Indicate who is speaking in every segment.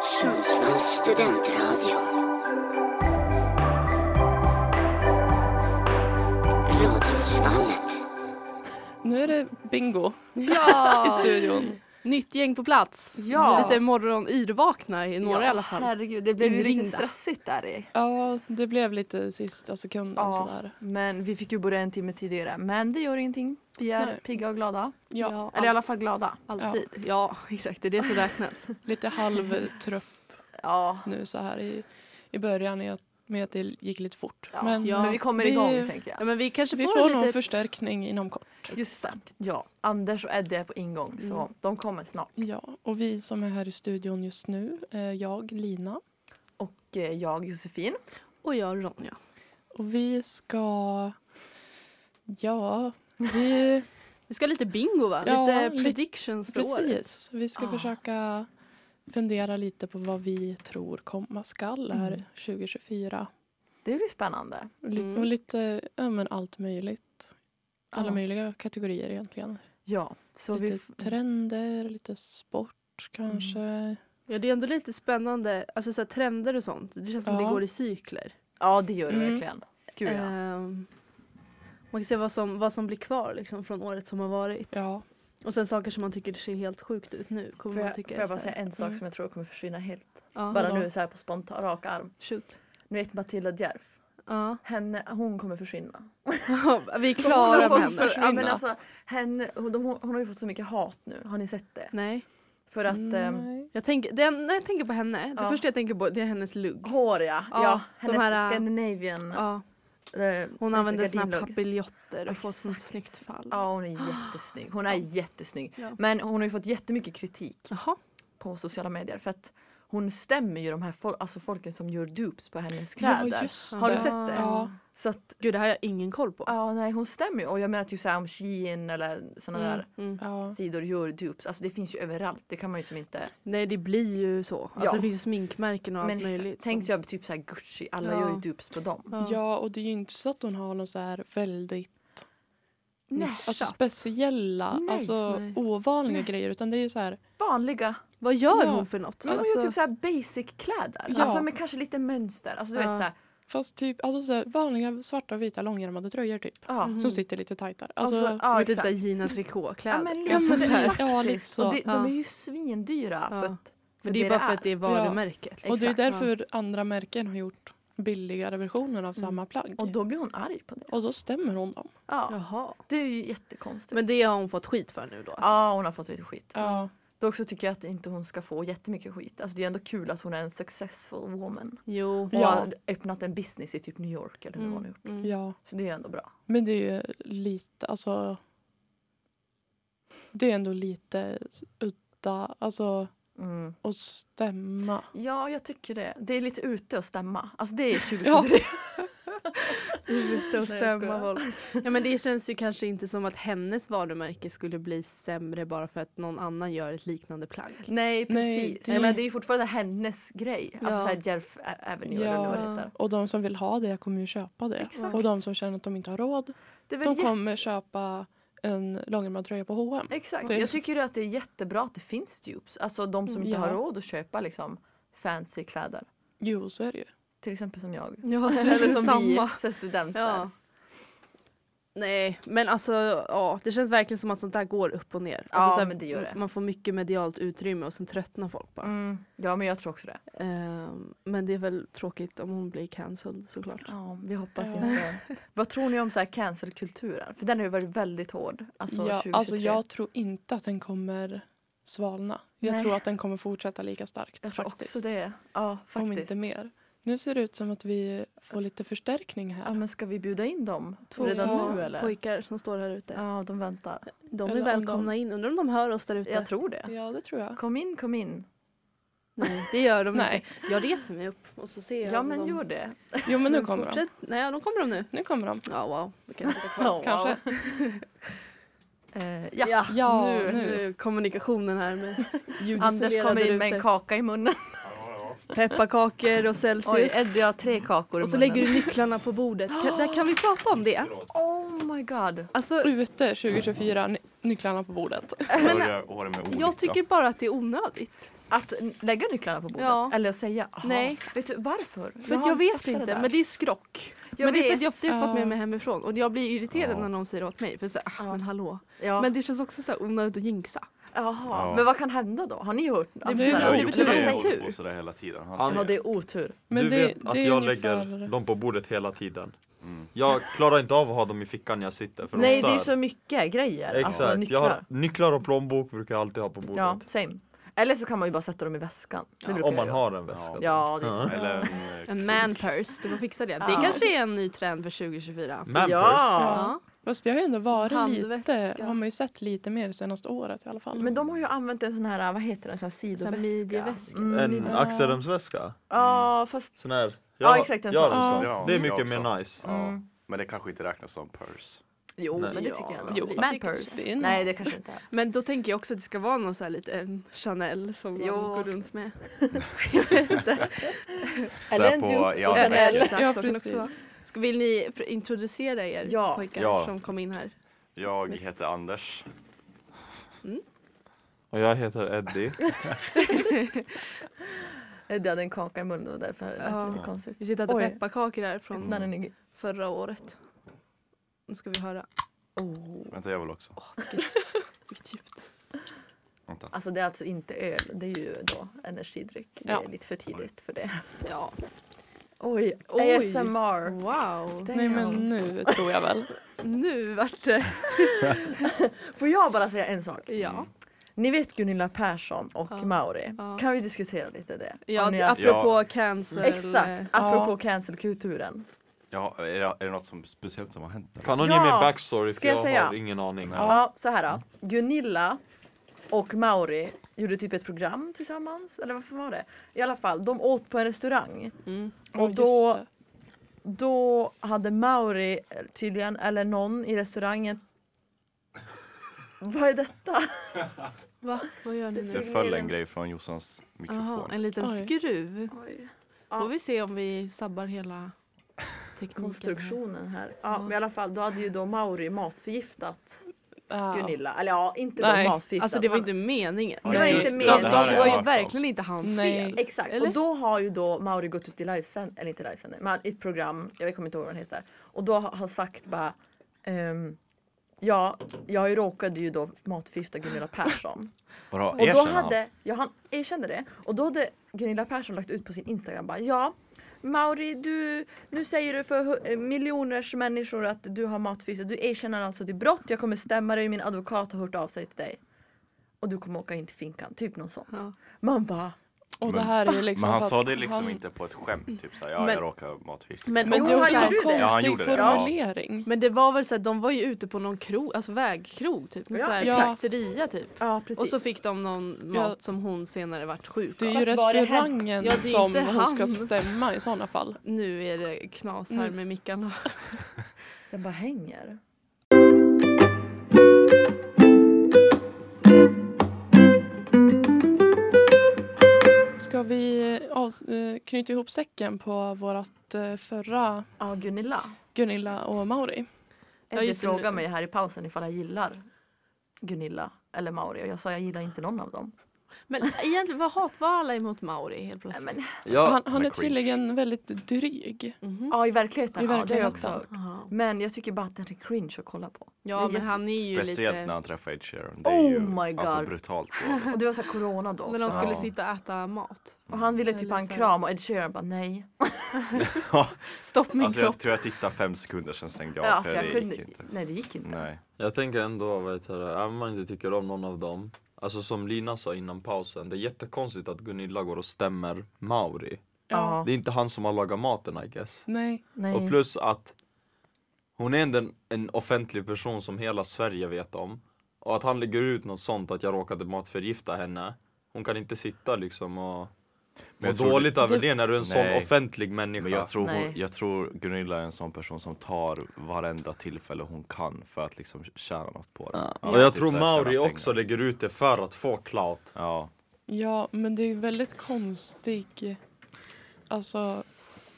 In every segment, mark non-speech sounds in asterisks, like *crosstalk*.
Speaker 1: Sundsvalls studentradio. Radiosvallet.
Speaker 2: Nu är det bingo *laughs* i
Speaker 3: Ja!
Speaker 2: studion. Nytt gäng på plats.
Speaker 3: Ja.
Speaker 2: Lite morgonyrvakna i några i alla fall.
Speaker 3: Herregud, det blev ju lite
Speaker 4: Inringda.
Speaker 3: stressigt där i.
Speaker 2: Ja, det blev lite sista sekunden
Speaker 3: Ja.
Speaker 2: sådär.
Speaker 3: Men vi fick ju börja en timme tidigare. Men det gör ingenting. Vi är
Speaker 2: Nej.
Speaker 3: pigga och glada.
Speaker 2: Ja,
Speaker 3: Eller i alla fall glada.
Speaker 4: Alltid. Ja. exakt. Det är det
Speaker 3: *laughs*
Speaker 4: som räknas.
Speaker 2: lite halvtrött
Speaker 3: Ja.
Speaker 2: nu så här i, i början i att- med att det gick lite fort.
Speaker 3: ja. Men, vi kommer igång tänker
Speaker 4: Ja,
Speaker 3: jag.
Speaker 4: men vi kanske
Speaker 2: Vi
Speaker 4: får,
Speaker 2: får
Speaker 4: lite...
Speaker 2: nog förstärkning inom kort.
Speaker 3: Just det. Ja, Anders och Eddie är på ingång så
Speaker 4: Mm.
Speaker 3: de kommer snart.
Speaker 2: Ja, och vi som är här i studion just nu, eh, jag, Lina,
Speaker 3: Och eh, jag Josefin.
Speaker 4: Och jag Ronja.
Speaker 2: och vi ska... Ja, vi...
Speaker 4: Vi ska ha lite bingo va?
Speaker 2: Ja,
Speaker 4: lite
Speaker 2: lite-
Speaker 4: predictions för året.
Speaker 2: Precis. Vi ska
Speaker 3: Ah.
Speaker 4: Ja.
Speaker 2: försöka fundera lite på vad vi tror komma skall här
Speaker 3: Mm.
Speaker 2: 2024.
Speaker 3: Det blir spännande.
Speaker 2: Och, li-
Speaker 4: Mm.
Speaker 2: och lite ja, men allt möjligt. Alla
Speaker 3: Ja.
Speaker 2: möjliga kategorier egentligen.
Speaker 3: Ja, så
Speaker 2: lite
Speaker 3: Ah. vi... f- Mm.
Speaker 2: trender, lite sport kanske.
Speaker 4: Ja, det är ändå lite spännande. Alltså så här, trender och sånt. Det känns som
Speaker 2: Ja.
Speaker 4: det går i cykler.
Speaker 3: Ja, det gör det
Speaker 2: Mm.
Speaker 3: verkligen. Gud ja.
Speaker 4: Ehm, man kan se vad som, vad som blir kvar liksom, från året som har varit.
Speaker 2: Ja.
Speaker 4: Och sen saker som man tycker ser helt sjukt ut nu. Kommer
Speaker 3: Får
Speaker 4: man
Speaker 3: jag,
Speaker 4: tycka
Speaker 3: får
Speaker 4: är
Speaker 3: jag bara
Speaker 4: så här-
Speaker 3: säga en sak
Speaker 2: Mm.
Speaker 3: som jag tror kommer försvinna helt?
Speaker 4: Ja,
Speaker 3: Bara
Speaker 4: vadå?
Speaker 3: nu så här på spontan rak arm.
Speaker 4: Shoot.
Speaker 3: Ni vet Matilda Djerf?
Speaker 4: Ja.
Speaker 3: Henne, hon kommer försvinna.
Speaker 4: *laughs* vi är
Speaker 3: Hon
Speaker 4: klara
Speaker 3: har
Speaker 4: med
Speaker 3: fått så-
Speaker 4: henne.
Speaker 3: ja, men alltså, henne hon, de, hon har ju fått så mycket hat nu. Har ni sett det?
Speaker 4: Nej.
Speaker 3: För att ehm,
Speaker 2: Mm. Nej.
Speaker 4: Jag tänker, den, när jag tänker på henne, det
Speaker 3: Ja.
Speaker 4: första jag tänker på det är hennes lugg.
Speaker 3: hår ja.
Speaker 4: Ja,
Speaker 3: ja
Speaker 4: de
Speaker 3: hennes
Speaker 4: här, äh,
Speaker 3: Scandinavian.
Speaker 4: Ja.
Speaker 3: eh,
Speaker 4: Hon använder sina
Speaker 3: gardinlugg.
Speaker 4: papiljotter och
Speaker 3: Ja,
Speaker 4: får sånt
Speaker 3: exakt.
Speaker 4: snyggt fall.
Speaker 3: Ja hon är jättesnygg. Hon är jättesnygg.
Speaker 4: Ja.
Speaker 3: Men hon har ju fått jättemycket kritik
Speaker 4: Jaha.
Speaker 3: på sociala medier för att hon stämmer ju de här fol- alltså folken som gör dupes på hennes
Speaker 2: Ja,
Speaker 3: kläder.
Speaker 2: just
Speaker 3: Har du
Speaker 2: det.
Speaker 3: sett det?
Speaker 2: Ja.
Speaker 3: så att
Speaker 4: Gud, det har jag ingen koll på.
Speaker 3: ja nej hon stämmer ju och jag menar typ såhär om Shein eller sådana
Speaker 4: Mm,
Speaker 3: där
Speaker 4: mm.
Speaker 2: Ja.
Speaker 3: sidor gör dupes. Alltså det finns ju överallt. Det kan man ju som inte
Speaker 4: Nej, det blir ju så. Alltså,
Speaker 3: Ja.
Speaker 4: Det finns ju sminkmärken och
Speaker 3: Men
Speaker 4: allt möjligt.
Speaker 3: tänk
Speaker 4: som-
Speaker 3: jag typ såhär Gucci, alla
Speaker 4: Ja.
Speaker 3: gör ju dupes på dem.
Speaker 4: ja.
Speaker 2: ja, och det är ju inte så att hon har någon så här väldigt alltså,
Speaker 3: Nischat.
Speaker 2: speciella,
Speaker 3: Nej,
Speaker 2: alltså
Speaker 4: nej.
Speaker 2: ovanliga
Speaker 3: Nej.
Speaker 2: grejer utan det är ju så här
Speaker 3: Vanliga.
Speaker 4: Vad gör
Speaker 2: Ja.
Speaker 4: hon för något?
Speaker 3: Men
Speaker 4: Alltså,
Speaker 3: hon gör typ såhär basic kläder.
Speaker 2: Ja.
Speaker 3: Alltså med kanske lite mönster. Alltså du
Speaker 4: Ja.
Speaker 3: vet såhär.
Speaker 2: Fast typ alltså så här, vanliga svarta och vita långärmade tröjor typ.
Speaker 3: Ja.
Speaker 4: Mhm.
Speaker 2: Som sitter lite tajtare.
Speaker 3: Och
Speaker 2: Alltså,
Speaker 3: så- ja,
Speaker 4: och typ
Speaker 3: exakt.
Speaker 4: såhär Gina Tricot-kläder.
Speaker 3: Ja, men
Speaker 2: ja,
Speaker 3: alltså,
Speaker 2: men
Speaker 3: det
Speaker 2: så
Speaker 3: är
Speaker 2: här,
Speaker 3: faktiskt.
Speaker 2: ja, lite så.
Speaker 3: Och det,
Speaker 4: Ja.
Speaker 3: de är ju svindyra
Speaker 4: Ja.
Speaker 3: för att
Speaker 4: men det är ju bara för att det är varumärket. liksom.
Speaker 2: och det är
Speaker 3: exakt,
Speaker 2: därför andra märken har gjort billigare versioner av samma plagg.
Speaker 3: Mm. Och då blir hon arg på det.
Speaker 2: Och då stämmer hon dem.
Speaker 3: Ja.
Speaker 4: Jaha.
Speaker 3: Det är ju jättekonstigt.
Speaker 4: Men det har hon fått skit för nu då? Alltså.
Speaker 3: Ja hon har fått lite skit.
Speaker 2: Ja.
Speaker 3: Dock så tycker jag att inte hon ska få jättemycket skit. Alltså det är ändå kul att hon är en successful woman.
Speaker 4: Jo.
Speaker 3: Och
Speaker 2: Ja.
Speaker 3: har öppnat en business i typ New York eller hur hon har gjort.
Speaker 4: Mm.
Speaker 2: ja.
Speaker 3: Så det är ändå bra.
Speaker 2: Men det är ju lite, alltså. Det är ändå lite udda, alltså
Speaker 3: Mm.
Speaker 2: att stämma.
Speaker 3: Ja jag tycker det. Det är lite ute att stämma. Alltså det är 2023.
Speaker 2: *laughs* Ja.
Speaker 4: Ute
Speaker 3: *laughs*
Speaker 4: och
Speaker 3: Nej, jag
Speaker 4: stämma
Speaker 3: skojar.
Speaker 4: folk. Ja men det känns ju kanske inte som att hennes varumärke skulle bli sämre bara för att någon annan gör ett liknande plagg.
Speaker 3: Nej precis.
Speaker 2: Nej, det-
Speaker 3: det... Men det är ju fortfarande hennes grej. Alltså
Speaker 4: Ja.
Speaker 3: såhär Jerf Avenue eller
Speaker 2: Ja.
Speaker 3: vad det heter.
Speaker 2: Och de som vill ha det kommer ju köpa det.
Speaker 3: Exakt.
Speaker 2: Och de som känner att de inte har råd,
Speaker 3: Det är väl
Speaker 2: de kommer köpa en långärmad tröja på H&M.
Speaker 3: Exakt.
Speaker 2: Det är
Speaker 3: Jag
Speaker 2: så-
Speaker 3: tycker att det är jättebra att det finns dupes. Alltså de som inte
Speaker 2: Ja.
Speaker 3: har råd att köpa liksom fancy kläder.
Speaker 2: Jo, så är det ju.
Speaker 3: Till exempel
Speaker 2: *laughs*
Speaker 3: som jag.
Speaker 4: Ja,
Speaker 3: Eller som vi som studenter.
Speaker 4: Ja. Nej men alltså ja, det känns verkligen som att sånt där går upp och ner. Alltså,
Speaker 3: Ja,
Speaker 4: så här,
Speaker 3: men det gör det.
Speaker 4: Man får mycket medialt utrymme och sen tröttnar folk bara.
Speaker 3: Mm. Ja men jag tror också det.
Speaker 4: Ehm, men det är väl tråkigt om hon blir cancelled såklart.
Speaker 3: Ja, vi hoppas
Speaker 2: Ja.
Speaker 3: inte. *laughs* Vad tror ni om så här cancelkulturen? För den har ju varit väldigt hård. Alltså
Speaker 2: ja,
Speaker 3: 2023.
Speaker 2: alltså jag tror inte att den kommer svalna. Jag
Speaker 3: Nej.
Speaker 2: tror att den kommer fortsätta lika starkt.
Speaker 3: Jag tror
Speaker 2: faktiskt.
Speaker 3: också det. Ja faktiskt. Alltså.
Speaker 2: Om inte mer. Nu ser det ut som att vi får lite förstärkning här.
Speaker 3: Ja men ska vi bjuda in dem?
Speaker 4: Två
Speaker 3: Redan
Speaker 4: små
Speaker 3: nu eller?
Speaker 4: pojkar som står här ute.
Speaker 3: Ja de väntar.
Speaker 4: De
Speaker 2: Eller
Speaker 4: är
Speaker 2: om
Speaker 4: välkomna in. Undrar om de hör oss där ute?
Speaker 3: Jag tror det.
Speaker 2: Ja, det tror jag.
Speaker 3: Kom in kom in.
Speaker 4: Nej,
Speaker 3: *laughs*
Speaker 4: det gör de
Speaker 2: Nej.
Speaker 4: inte. Jag reser mig upp och så ser jag
Speaker 3: Ja
Speaker 4: om
Speaker 3: men
Speaker 4: de...
Speaker 3: gör det.
Speaker 2: Jo,
Speaker 3: *laughs*
Speaker 2: men nu kommer de.
Speaker 4: Fortsätt. Nej, de kommer de nu.
Speaker 2: Nu kommer de.
Speaker 4: Ja, wow. Då kan jag sitta
Speaker 3: *laughs*
Speaker 4: kvar.
Speaker 3: Ja, wow.
Speaker 2: Kanske.
Speaker 3: Eh, ja.
Speaker 2: Ja, nu.
Speaker 4: nu, nu. kommunikationen här
Speaker 3: *laughs*
Speaker 4: med
Speaker 3: Anders kommer in med en kaka i munnen.
Speaker 4: Pepparkakor och
Speaker 3: Oj,
Speaker 4: Celsius.
Speaker 3: Eddie har tre kakor i
Speaker 4: och så
Speaker 3: munnen.
Speaker 4: lägger du nycklarna på bordet. Kan, där kan vi prata om det?
Speaker 3: Oh my god.
Speaker 4: Alltså,
Speaker 2: Ute 2024, ny- nycklarna på bordet.
Speaker 4: men
Speaker 5: Börja året med olycka.
Speaker 4: jag tycker bara att det är onödigt.
Speaker 3: Att n- lägga nycklarna på bordet
Speaker 4: Ja.
Speaker 3: eller säga "Jaha,
Speaker 4: Nej.
Speaker 3: Vet du varför?
Speaker 4: För att jag vet inte, men det är skrock.
Speaker 3: Jag
Speaker 4: men det är för
Speaker 3: vet.
Speaker 4: att jag, det har jag fått
Speaker 2: Ja.
Speaker 4: med mig hemifrån och jag blir irriterad
Speaker 5: Ja.
Speaker 4: när någon säger åt mig. För så, ah,
Speaker 3: Ja.
Speaker 4: men hallå.
Speaker 3: ja.
Speaker 4: Men det känns också så här onödigt att jinxa.
Speaker 3: Jaha,
Speaker 5: Ja.
Speaker 3: men vad kan hända då? Har ni hört? Alltså,
Speaker 4: Det
Speaker 2: blir-
Speaker 4: blir,
Speaker 2: det
Speaker 4: det
Speaker 2: blir tur.
Speaker 4: blir,
Speaker 5: Jocke
Speaker 4: det
Speaker 5: håller
Speaker 4: tur.
Speaker 5: på sådär hela tiden. Han
Speaker 3: Ja,
Speaker 5: säger
Speaker 3: det är otur.
Speaker 2: Men
Speaker 6: du
Speaker 2: det,
Speaker 6: vet att
Speaker 2: det är
Speaker 6: jag
Speaker 2: ungefär-
Speaker 6: lägger dem på bordet hela tiden. Jag klarar inte av att ha dem i fickan när jag sitter för
Speaker 3: Nej,
Speaker 6: de
Speaker 3: det
Speaker 6: stör.
Speaker 3: är så mycket grejer.
Speaker 6: Exakt,
Speaker 3: Alltså, nycklar.
Speaker 6: jag har nycklar och plånbok brukar jag alltid ha på bordet.
Speaker 3: Ja, same. Eller så kan man ju bara sätta dem i väskan. Det brukar
Speaker 6: Om
Speaker 3: jag
Speaker 6: man
Speaker 3: göra.
Speaker 6: har en väska.
Speaker 3: Ja, det är så.
Speaker 5: Eller en,
Speaker 4: *laughs*
Speaker 5: eh,
Speaker 4: En man purse, du får fixa det. Det
Speaker 3: Ja.
Speaker 4: kanske är en ny trend för 2024.
Speaker 6: Man purse.
Speaker 3: Ja.
Speaker 4: Ja.
Speaker 2: Fast det har ju ändå varit
Speaker 4: Handväska.
Speaker 2: lite, har man ju sett lite mer det senaste året i alla fall.
Speaker 3: Men de har ju använt en sån här, vad heter den, sån här sidoväska? Mm.
Speaker 4: midjeväska.
Speaker 6: En
Speaker 2: Ja.
Speaker 6: axelremsväska.
Speaker 3: Ja, fast
Speaker 6: Sån här.
Speaker 3: Ja, exakt, en
Speaker 6: jag har
Speaker 3: sån.
Speaker 6: en
Speaker 5: Ja,
Speaker 6: Det är
Speaker 5: jag
Speaker 6: mycket
Speaker 5: också.
Speaker 6: mer nice.
Speaker 5: ja.
Speaker 3: Mm.
Speaker 5: Men det kanske inte räknas som purse.
Speaker 3: jo,
Speaker 6: Nej.
Speaker 3: men det tycker jag ändå.
Speaker 2: Jo,
Speaker 3: man
Speaker 2: det kanske det
Speaker 3: purse.
Speaker 2: är.
Speaker 3: Nej, det kanske inte är.
Speaker 4: Men då tänker jag också att det ska vara någon så här lite eh, Chanel som man
Speaker 3: Jo.
Speaker 4: går runt med. jag vet inte.
Speaker 5: Så
Speaker 3: Eller
Speaker 5: här
Speaker 3: en
Speaker 5: på-
Speaker 3: duke
Speaker 5: ja,
Speaker 3: och
Speaker 5: så
Speaker 3: en
Speaker 5: räcker.
Speaker 3: Elsa
Speaker 2: Ja,
Speaker 3: så kan det också
Speaker 2: precis.
Speaker 3: vara.
Speaker 4: Ska, vill ni pr- introducera er
Speaker 3: Ja.
Speaker 4: pojkar
Speaker 6: Ja.
Speaker 4: som kom in här?
Speaker 5: Jag heter Anders.
Speaker 6: Och jag heter Eddie.
Speaker 3: Eddie hade en kaka i munnen och därför lät det
Speaker 4: Ja.
Speaker 3: lite konstigt.
Speaker 4: Vi sitter och
Speaker 3: Oj.
Speaker 4: äter pepparkakor här från
Speaker 3: När den är...
Speaker 4: förra året. Nu ska vi höra.
Speaker 3: oh.
Speaker 5: *laughs* Vänta jag vill också.
Speaker 4: Vilket djupt.
Speaker 5: Vänta.
Speaker 3: Alltså det är alltså inte öl, det är ju då energidryck. Det
Speaker 2: Ja.
Speaker 3: är lite för tidigt för det.
Speaker 4: Ja.
Speaker 3: Oj,
Speaker 4: Oj.
Speaker 3: ASMR.
Speaker 4: Wow.
Speaker 2: Nej men nu tror jag väl.
Speaker 4: Nu vart det.
Speaker 3: Får jag bara säga en sak?
Speaker 4: Ja.
Speaker 3: Ni vet Gunilla Persson och
Speaker 4: Ja.
Speaker 3: Mauri.
Speaker 4: Ja.
Speaker 3: Kan vi diskutera lite det?
Speaker 4: Ja,
Speaker 3: Om ni
Speaker 4: det-
Speaker 3: har-
Speaker 4: apropå cancel.
Speaker 3: Exakt, apropå cancelkulturen.
Speaker 5: Ja, är, det, är det något som speciellt som har hänt? eller?
Speaker 6: Kan någon
Speaker 3: Ja.
Speaker 6: ge mig en backstory? För
Speaker 3: Ska jag
Speaker 6: jag, har
Speaker 3: säga?
Speaker 6: ingen aning.
Speaker 3: Ja, så här då. Gunilla och Mauri gjorde typ ett program tillsammans, eller varför var det? I alla fall, de åt på en restaurang.
Speaker 4: Mm.
Speaker 3: *laughs* Och
Speaker 2: Ja, just
Speaker 3: då-
Speaker 2: det.
Speaker 3: Då hade Mauri eh, tydligen, eller någon i restaurangen Vad är detta?
Speaker 4: Va? Vad gör ni
Speaker 5: Det
Speaker 4: nu?
Speaker 5: föll en grej från Jossans
Speaker 4: Jaha,
Speaker 5: mikrofon.
Speaker 4: en liten
Speaker 2: Oj.
Speaker 4: skruv.
Speaker 3: Ja.
Speaker 4: Får vi se om vi sabbar hela tekniken. här.
Speaker 3: Konstruktionen här.
Speaker 4: Ja.
Speaker 3: Ja, men i alla fall, då hade ju då Mauri matförgiftat
Speaker 2: Ja.
Speaker 3: Gunilla. Eller ja, inte
Speaker 2: Nej,
Speaker 3: då matförgiftat.
Speaker 4: Alltså det var inte meningen.
Speaker 5: Ja,
Speaker 3: Det var
Speaker 5: just
Speaker 3: inte
Speaker 5: det.
Speaker 3: mer-
Speaker 5: Det
Speaker 4: De,
Speaker 5: här
Speaker 4: de
Speaker 5: har jag
Speaker 4: var ju
Speaker 5: hört
Speaker 4: verkligen
Speaker 5: något.
Speaker 4: inte hans
Speaker 2: Nej.
Speaker 4: fel.
Speaker 3: Exakt,
Speaker 4: Eller?
Speaker 3: och då har ju då Mauri gått ut i livesändning, eller inte livesändning, men i ett program, jag kommer inte ihåg vad den heter. Och då har han sagt bara ehm, Ja, jag råkade ju då matförgifta Gunilla Persson.
Speaker 5: Bra,
Speaker 3: Och då
Speaker 5: erkänner han.
Speaker 3: hade, ja han erkände det. Och då hade Gunilla Persson lagt ut på sin Instagram bara ja Mauri, du, nu säger du för hu- eh, miljoners människor att du har matförgiftat. Du erkänner alltså ditt brott. Jag kommer stämma dig. Min advokat har hört av sig till dig. Och du kommer åka in till finkan. Typ något sånt.
Speaker 4: Ja.
Speaker 3: Man bara
Speaker 2: Och det
Speaker 5: Men-
Speaker 2: här är ju liksom
Speaker 5: Men han
Speaker 2: för att
Speaker 5: sa det liksom
Speaker 2: han-
Speaker 5: inte på ett skämt, typ såhär, ja
Speaker 4: Men-
Speaker 5: jag råkar matförgifta.
Speaker 4: Men,
Speaker 2: Men
Speaker 3: Jo,
Speaker 2: det var
Speaker 3: han
Speaker 2: så
Speaker 3: gjorde
Speaker 2: här
Speaker 3: det.
Speaker 2: konstig
Speaker 5: Ja, han gjorde det, ja.
Speaker 2: formulering.
Speaker 4: Men det var väl så att de var ju ute på någon krog, alltså vägkrog typ.
Speaker 3: Ja,
Speaker 4: Ja, så här,
Speaker 2: ja.
Speaker 4: Pizzeria typ.
Speaker 3: Ja precis.
Speaker 4: Och så fick de någon
Speaker 2: Ja.
Speaker 4: mat som hon senare vart sjuk
Speaker 2: Det
Speaker 4: av.
Speaker 2: är ju
Speaker 3: Fast var det
Speaker 2: restaurangen
Speaker 4: Ja, det är
Speaker 2: som
Speaker 4: inte
Speaker 2: hon
Speaker 4: han.
Speaker 2: ska stämma i sådana fall.
Speaker 4: Nu är det knas här
Speaker 2: Mm.
Speaker 4: med mickarna.
Speaker 3: Den bara hänger.
Speaker 2: Ska vi avs- eh, knyta ihop säcken på vårt eh, förra
Speaker 3: Ja Gunilla.
Speaker 2: Gunilla och Mauri?
Speaker 3: Eddie
Speaker 4: just det, nu-
Speaker 3: frågade mig här i pausen ifall jag gillar Gunilla eller Mauri. Och jag sa jag gillar inte någon av dem.
Speaker 4: *laughs* Men egentligen, vad hat var alla emot Mauri helt plötsligt?
Speaker 3: Nej, men-
Speaker 6: Ja,
Speaker 2: han han
Speaker 5: men
Speaker 2: är
Speaker 5: cringe.
Speaker 2: tydligen väldigt dryg.
Speaker 4: Mhm.
Speaker 3: Ja i verkligheten.
Speaker 2: I
Speaker 3: ja, det har jag också
Speaker 2: verkligheten.
Speaker 3: hört.
Speaker 4: Jaha.
Speaker 3: Men jag tycker bara att den är cringe att kolla på.
Speaker 4: Ja men han är ju
Speaker 5: Speciellt
Speaker 4: lite...
Speaker 5: när han träffar Ed Sheeran. Det är
Speaker 3: Oh
Speaker 5: ju
Speaker 3: my
Speaker 5: Alltså
Speaker 3: God. *laughs*
Speaker 5: brutalt dåligt.
Speaker 3: Och det var så här corona då
Speaker 4: *laughs* När de
Speaker 3: också.
Speaker 4: skulle
Speaker 5: Ja.
Speaker 4: sitta och äta mat.
Speaker 3: Och han ville typ
Speaker 4: Eller
Speaker 3: ha en
Speaker 4: så här-
Speaker 3: kram och Ed Sheeran bara nej.
Speaker 4: Stopp min
Speaker 5: Alltså jag
Speaker 4: kropp.
Speaker 5: tror jag tittade fem sekunder sen stängde jag
Speaker 3: Ja,
Speaker 5: av
Speaker 3: alltså,
Speaker 5: för
Speaker 3: jag
Speaker 5: det
Speaker 3: kunde,
Speaker 5: gick inte.
Speaker 3: nej det gick inte.
Speaker 5: Nej.
Speaker 6: Jag tänker ändå, vad heter det, även om man inte tycker om någon av dem Alltså som Lina sa innan pausen, det är jättekonstigt att Gunilla går och stämmer Mauri
Speaker 3: Ja.
Speaker 6: Det är inte han som har lagat maten I guess
Speaker 2: Nej.
Speaker 3: Nej.
Speaker 6: Och plus att hon är ändå en, en offentlig person som hela Sverige vet om Och att han lägger ut något sånt att jag råkade matförgifta henne Hon kan inte sitta liksom och må
Speaker 5: Men jag tror
Speaker 6: dåligt över det när du är en sån
Speaker 5: Nej.
Speaker 6: offentlig människa
Speaker 5: Men jag tror, hon,
Speaker 3: Nej.
Speaker 5: jag tror Gunilla är en sån person som tar varenda tillfälle hon kan för att liksom tjäna något på det.
Speaker 6: Ja,
Speaker 5: Alltså,
Speaker 6: Och jag
Speaker 5: typ
Speaker 6: tror
Speaker 5: så här,
Speaker 6: Mauri
Speaker 5: tjäna
Speaker 6: också
Speaker 5: pengar.
Speaker 6: lägger ut det för att få clout
Speaker 5: Ja.
Speaker 2: Ja, men det är ju väldigt konstig... Alltså,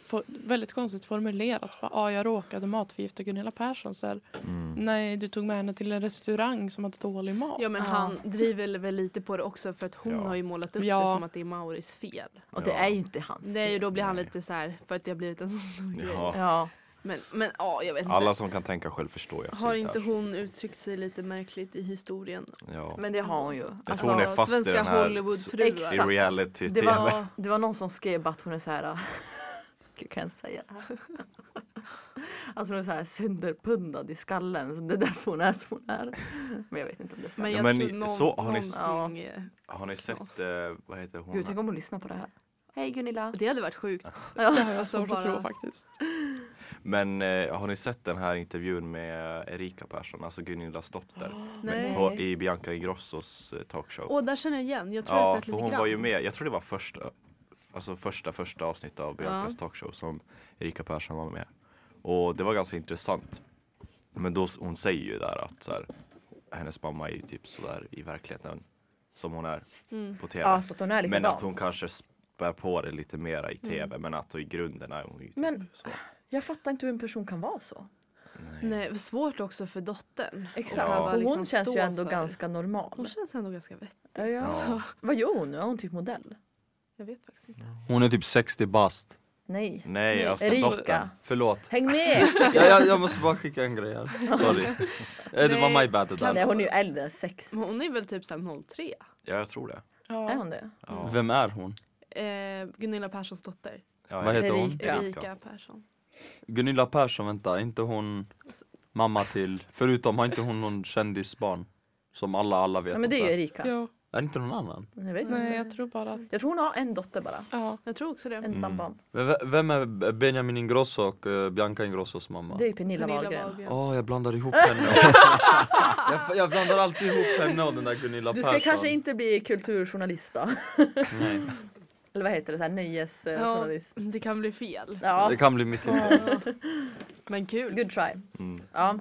Speaker 2: for, väldigt konstigt formulerat. Bara, ah, jag råkade matförgifta Gunilla Persson. Så här,
Speaker 5: Mm.
Speaker 2: Nej, du tog med henne till en restaurang som hade dålig mat.
Speaker 4: Ja men
Speaker 3: Ja.
Speaker 4: han driver väl lite på det också för att hon
Speaker 5: Ja.
Speaker 4: har ju målat upp det
Speaker 2: Ja.
Speaker 4: som att det är Mauris fel.
Speaker 3: Och det
Speaker 5: Ja.
Speaker 3: är ju inte hans
Speaker 4: Det är ju
Speaker 3: fel.
Speaker 4: då blir han
Speaker 5: Nej.
Speaker 4: lite så här för att det har blivit en så stor grej.
Speaker 5: Ja.
Speaker 3: Ja.
Speaker 4: Men, men ja, jag vet inte.
Speaker 5: Alla som kan tänka själv förstår ju att
Speaker 4: Mm. Har
Speaker 5: det
Speaker 4: inte
Speaker 5: är-
Speaker 4: hon uttryckt sig lite märkligt i historien? Alltså,
Speaker 5: Ja.
Speaker 3: Men det har hon ju.
Speaker 5: Jag tror hon är fast i
Speaker 4: svenska
Speaker 5: den här- I
Speaker 4: Hollywoodfruar.
Speaker 3: Exakt.
Speaker 5: reality
Speaker 3: Det
Speaker 5: tv.
Speaker 3: var, det var någon som skrev att hon är så här... ah, *laughs* Gud, kan jag ens säga det här? *laughs* Alltså hon är så här sönderpundad i skallen. Så det är därför hon är som hon är. Men jag vet inte om det är sant.
Speaker 4: Men
Speaker 5: Ja,
Speaker 4: jag
Speaker 5: men
Speaker 4: tror
Speaker 5: i-
Speaker 4: någon,
Speaker 5: så har ni-
Speaker 4: någonting, eh,
Speaker 5: Har ni sett, eh, vad heter hon?
Speaker 3: Gud, tänk om hon lyssnar på det här. Hej Gunilla!
Speaker 4: Det hade varit sjukt.
Speaker 2: Det har jag
Speaker 4: Alltså,
Speaker 2: svårt
Speaker 4: bara-
Speaker 2: att tro faktiskt.
Speaker 5: Men eh, har ni sett den här intervjun med Erika Persson, alltså Gunillas dotter?
Speaker 4: Ah. Nej.
Speaker 5: På, I Bianca Ingrossos eh, talkshow.
Speaker 4: Åh, där känner jag igen. Jag tror jag har
Speaker 5: ja,
Speaker 4: sett
Speaker 5: för
Speaker 4: lite
Speaker 5: hon
Speaker 4: grann.
Speaker 5: var ju med, jag tror det var första, alltså första, första avsnittet av Biancas talkshow som Erika Persson var med. Och det var ganska intressant. Men då, s- hon säger ju där att så här, hennes mamma är ju typ sådär i verkligheten som hon är på tv.
Speaker 3: Mm. Ja, så att hon är likadan.
Speaker 5: men att hon kanske spär på det lite mera i tv men att i grunden är hon ju typ
Speaker 3: Mm. Men-
Speaker 5: så.
Speaker 3: Jag fattar inte hur en person kan vara så.
Speaker 4: Nej, vad svårt också för dottern.
Speaker 3: Exakt.
Speaker 5: Ja.
Speaker 3: För hon
Speaker 4: Liksom
Speaker 3: känns
Speaker 4: stå
Speaker 3: ju ändå
Speaker 4: för-
Speaker 3: ganska normal.
Speaker 4: Hon känns ändå ganska vettig.
Speaker 3: Ja, ja.
Speaker 5: Ja.
Speaker 3: Vad gör hon nu? Är hon typ modell?
Speaker 4: Jag vet faktiskt inte.
Speaker 6: Hon är typ 60 bast.
Speaker 3: Nej.
Speaker 5: Nej, alltså dottern.
Speaker 3: Erika!
Speaker 6: Förlåt.
Speaker 3: Häng med!
Speaker 6: Ja, jag, jag måste bara skicka en grej här. Sorry. Eh, det var
Speaker 4: Nej,
Speaker 6: my bad det
Speaker 4: kan-
Speaker 6: där.
Speaker 3: Nej, hon är ju äldre än 60.
Speaker 4: Men Hon är väl typ såhär 03?
Speaker 5: Ja, jag tror det.
Speaker 3: Är
Speaker 2: Ja.
Speaker 3: hon det?
Speaker 5: Ja.
Speaker 6: Vem är hon?
Speaker 4: Eh, Gunilla Perssons dotter.
Speaker 5: Ja,
Speaker 6: Vad heter hon?
Speaker 3: Ja.
Speaker 4: Erika Persson.
Speaker 6: Gunilla Persson, vänta, är inte hon
Speaker 3: Alltså-
Speaker 6: mamma till, förutom har inte hon någon kändisbarn? Som alla, alla vet
Speaker 3: Ja,
Speaker 6: om
Speaker 3: men det är ju
Speaker 6: så här.
Speaker 3: Erika.
Speaker 2: Jo.
Speaker 6: Är det inte någon annan?
Speaker 3: Jag vet
Speaker 2: Nej,
Speaker 3: inte.
Speaker 2: jag tror bara att...
Speaker 3: Jag tror hon har en dotter bara.
Speaker 2: Ja.
Speaker 4: Jag tror också det.
Speaker 3: Ensam barn.
Speaker 6: V- Vem är B- Benjamin Ingrosso och eh, Bianca Ingrossos mamma?
Speaker 3: Det är ju Pernilla
Speaker 4: Pernilla
Speaker 3: Wahlgren.
Speaker 4: Wahlgren.
Speaker 6: Åh, jag blandar ihop
Speaker 3: *laughs*
Speaker 6: henne och... jag, jag blandar alltid ihop henne och den där Gunilla
Speaker 3: Du
Speaker 6: Persson
Speaker 3: ska kanske inte bli kulturjournalist då?
Speaker 6: Nej.
Speaker 3: Eller vad heter det? Så här,
Speaker 4: Ja,
Speaker 3: nöjesjournalist?
Speaker 4: det kan bli fel.
Speaker 3: Ja.
Speaker 6: Det kan bli mitt liv
Speaker 4: Men kul.
Speaker 3: Good try.
Speaker 5: Mm.
Speaker 3: Ja.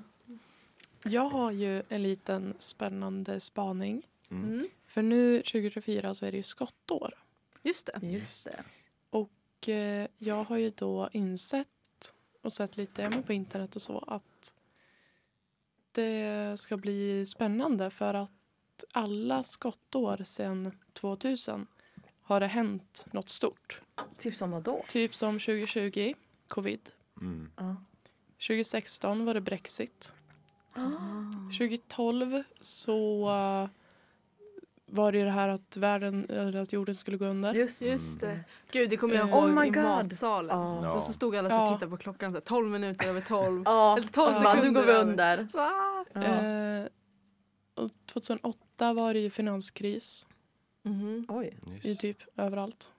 Speaker 2: Jag har ju en liten spännande spaning.
Speaker 4: Mm.
Speaker 2: För nu 2024 så är det ju skottår.
Speaker 4: Just det.
Speaker 3: Just det.
Speaker 2: Och eh, jag har ju då insett och sett lite ja, men på internet och så att det ska bli spännande för att alla skottår sedan 2000 har det hänt något stort.
Speaker 3: Typ som vadå?
Speaker 2: Typ som 2020, covid.
Speaker 5: Mm.
Speaker 3: Ja.
Speaker 2: 2016 var det Brexit. 2012 så eh, var det ju det här att, världen, eller att jorden skulle gå under.
Speaker 3: Just
Speaker 4: Just det. Gud, det kommer jag ihåg
Speaker 3: Oh my
Speaker 4: i
Speaker 3: God.
Speaker 4: matsalen.
Speaker 3: Ja.
Speaker 4: Då så stod alla så och
Speaker 2: Ja.
Speaker 4: tittade på klockan så här, 12 minuter över 12.
Speaker 3: Ja.
Speaker 4: Eller 12
Speaker 3: Ja. Nu
Speaker 4: sekunder
Speaker 3: går vi
Speaker 4: över.
Speaker 3: under.
Speaker 4: Så, ah.
Speaker 3: Ja.
Speaker 2: Eh, och 2008 var det ju finanskris
Speaker 4: Mhm.
Speaker 3: Oj.
Speaker 2: i
Speaker 5: Just.
Speaker 2: typ överallt.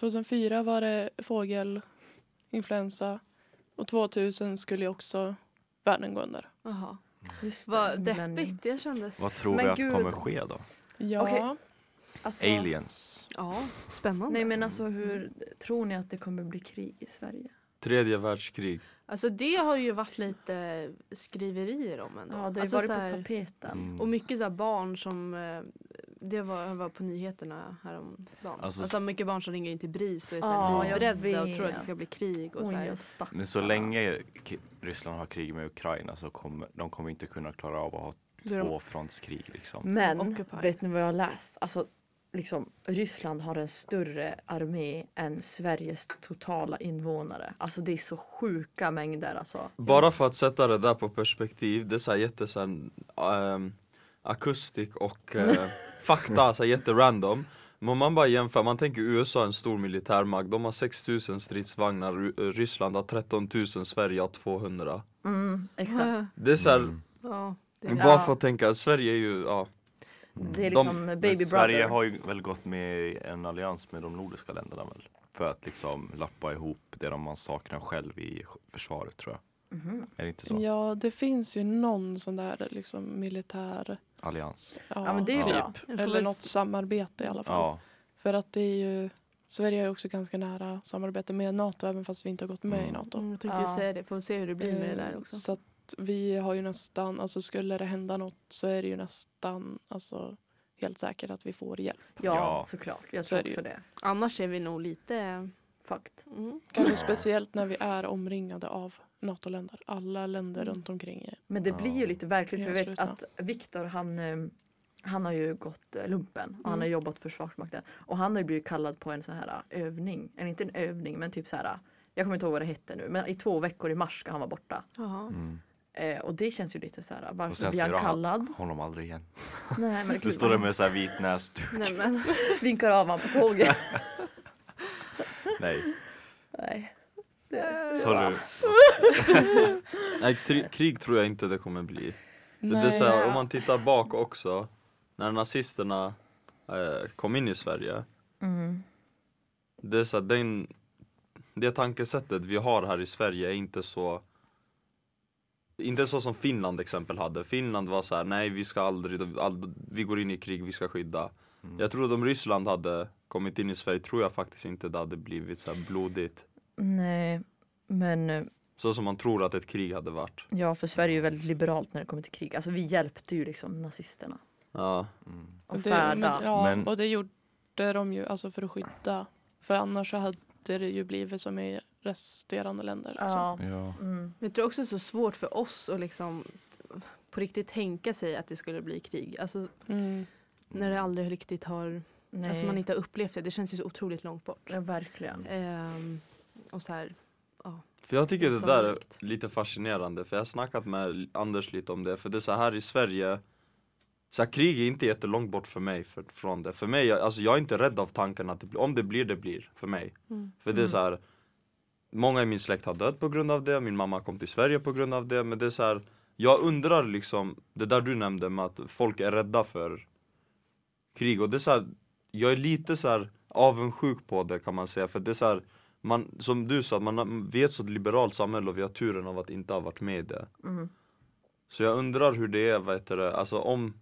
Speaker 2: 2004 var det fågelinfluensa och 2000 skulle ju också världen gå under.
Speaker 4: Jaha.
Speaker 3: Just
Speaker 4: Vad
Speaker 3: det. Men-
Speaker 4: deppigt det kändes.
Speaker 5: Vad tror
Speaker 3: Men
Speaker 5: vi att
Speaker 3: gud.
Speaker 5: kommer ske då?
Speaker 2: Ja,
Speaker 3: Okej. Alltså,
Speaker 5: Aliens?
Speaker 4: Ja, spännande.
Speaker 3: Nej men alltså hur tror ni att det kommer bli krig i Sverige?
Speaker 6: Tredje världskrig.
Speaker 4: Alltså det har ju varit lite skriverier om ändå.
Speaker 3: Ja, det har
Speaker 4: alltså,
Speaker 3: varit
Speaker 4: så
Speaker 3: på
Speaker 4: här-
Speaker 3: tapeten.
Speaker 5: Mm.
Speaker 4: Och mycket så här barn som, eh, det var, var på nyheterna häromdagen.
Speaker 5: Alltså,
Speaker 4: Alltså, mycket barn som ringer in till BRIS och är så
Speaker 3: Ja,
Speaker 4: här
Speaker 3: jag
Speaker 4: livrädda och
Speaker 3: vet.
Speaker 4: tror att det ska bli krig. Och så
Speaker 3: Oj,
Speaker 4: här.
Speaker 3: jag stack.
Speaker 5: Men så länge k- Ryssland har krig med Ukraina så kommer de kommer inte kunna klara av att ha
Speaker 4: Då är de-
Speaker 5: tvåfrontskrig liksom.
Speaker 3: Men
Speaker 4: Occupy.
Speaker 3: vet ni vad jag har läst? Alltså, liksom, Ryssland har en större armé än Sveriges totala invånare. Alltså det är så sjuka mängder alltså.
Speaker 6: Bara för att sätta det där på perspektiv, det är såhär jätte så här, ehm, akustik och
Speaker 5: *laughs*
Speaker 6: eh, fakta, såhär jätterandom Men om man bara jämför, man tänker USA en stor militärmakt, de har 6000 stridsvagnar, Ru- eh, Ryssland har 13 000, Sverige har 200
Speaker 3: Mm, exakt.
Speaker 6: *laughs* Det är såhär,
Speaker 5: Mm.
Speaker 4: ja, det är
Speaker 6: bara för att tänka, Sverige är ju, ja
Speaker 3: Det är liksom
Speaker 5: Men
Speaker 3: baby
Speaker 5: Sverige
Speaker 3: brother.
Speaker 5: har ju väl gått med i en allians med de nordiska länderna väl? För att liksom lappa ihop det de man saknar själv i försvaret tror jag. Är det inte så?
Speaker 2: ja, det finns ju någon sån där liksom militär
Speaker 5: Allians?
Speaker 2: ja, typ.
Speaker 3: Ja men det är ju
Speaker 5: Ja.
Speaker 3: bra.
Speaker 4: Jag får
Speaker 2: eller
Speaker 4: väl
Speaker 2: något
Speaker 4: s-
Speaker 2: samarbete i alla fall.
Speaker 5: Ja.
Speaker 2: För att det är ju Sverige är ju också ganska nära samarbete med Nato även fast vi inte har gått med i Nato.
Speaker 4: Mm, jag tänkte
Speaker 3: Ja.
Speaker 4: ju säga det, får vi se hur det blir med det där
Speaker 2: Eh,
Speaker 4: också.
Speaker 2: Så att vi har ju nästan, alltså skulle det hända något så är det ju nästan alltså, helt säkert att vi får hjälp.
Speaker 3: Ja,
Speaker 5: Ja.
Speaker 3: såklart. Jag
Speaker 2: Så
Speaker 3: tror
Speaker 2: är det ju.
Speaker 3: också det.
Speaker 4: Annars är vi nog lite
Speaker 3: Fakt.
Speaker 4: Mm.
Speaker 2: Kanske speciellt när vi är omringade av NATO-länder. Alla länder runt omkring. är-
Speaker 3: Men det
Speaker 5: Ja.
Speaker 3: blir ju lite verkligt för vi vet
Speaker 2: Nedslutna.
Speaker 3: att Viktor han, eh, han har ju gått eh, lumpen och han har
Speaker 4: Mm.
Speaker 3: jobbat för Försvarsmakten. Och han har ju blivit kallad på en sån här eh, övning, eller inte en övning men typ så här eh, jag kommer inte ihåg vad det hette nu men i två veckor i mars ska han vara borta.
Speaker 4: Jaha.
Speaker 5: Mm.
Speaker 3: Eh, och det känns ju lite så här eh,
Speaker 5: Och
Speaker 3: varför
Speaker 5: sen
Speaker 3: blir
Speaker 5: ser
Speaker 3: han
Speaker 5: jag *laughs*
Speaker 3: kallad?
Speaker 5: honom aldrig igen.
Speaker 3: Nej, men
Speaker 5: Du
Speaker 3: kul.
Speaker 5: står där med så här vit näs.
Speaker 3: *laughs*
Speaker 4: Nej men.
Speaker 3: Vinkar av honom på
Speaker 5: *laughs*
Speaker 3: tåget.
Speaker 5: Nej,
Speaker 3: Nej. Det,
Speaker 5: sorry.
Speaker 6: Nej, tri- krig tror jag inte det kommer bli. För Det är
Speaker 2: Nej.
Speaker 6: så här, om man tittar bak också, när nazisterna eh, kom in i Sverige,
Speaker 3: mm.
Speaker 6: det är så här, den, det tankesättet vi har här i Sverige är inte så inte så som Finland exempel hade. Finland var så här, nej vi ska aldrig, ald- vi går in i krig, vi ska skydda. Jag tror att om Ryssland hade kommit in i Sverige tror jag faktiskt inte det hade blivit så här blodigt.
Speaker 3: Nej, men eh,
Speaker 6: Så som man tror att ett krig hade varit.
Speaker 3: ja, för Sverige är ju väldigt liberalt när det kommer till krig. Alltså vi hjälpte ju liksom nazisterna.
Speaker 6: Ja.
Speaker 3: Och
Speaker 2: Det-
Speaker 3: färda.
Speaker 2: men- Ja,
Speaker 5: Men-
Speaker 2: och det gjorde de ju alltså för att skydda. För annars så hade det ju blivit som i resterande länder. Liksom.
Speaker 3: Ja.
Speaker 5: Ja.
Speaker 3: Mm.
Speaker 4: Men jag tror också det är så svårt för oss att liksom på riktigt tänka sig att det skulle bli krig. Alltså
Speaker 2: Mm.
Speaker 4: när det aldrig riktigt har,
Speaker 3: Nej.
Speaker 4: alltså man inte har upplevt det. Det känns ju så otroligt långt bort.
Speaker 3: Ja, verkligen.
Speaker 4: Ehm, och så här,
Speaker 6: För jag tycker det där är
Speaker 4: Sannolikt.
Speaker 6: lite fascinerande för jag har snackat med Anders lite om det för det är så här i Sverige så här, krig är inte jättelångt bort för mig för, från det. För mig, jag- alltså jag är inte rädd av tanken att det blir, om det blir det blir för mig.
Speaker 4: Mm.
Speaker 6: För det är så här många i min släkt har dött på grund av det, min mamma kom till Sverige på grund av det men det är så här jag undrar liksom det där du nämnde med att folk är rädda för krig och det är så här jag är lite så här avundsjuk på det kan man säga för det är så här man, som du sa, man, har- vi är ett så liberalt samhälle och vi har turen av att inte ha varit med i det.
Speaker 3: Mm.
Speaker 6: Så jag undrar hur det är, vad heter det, alltså om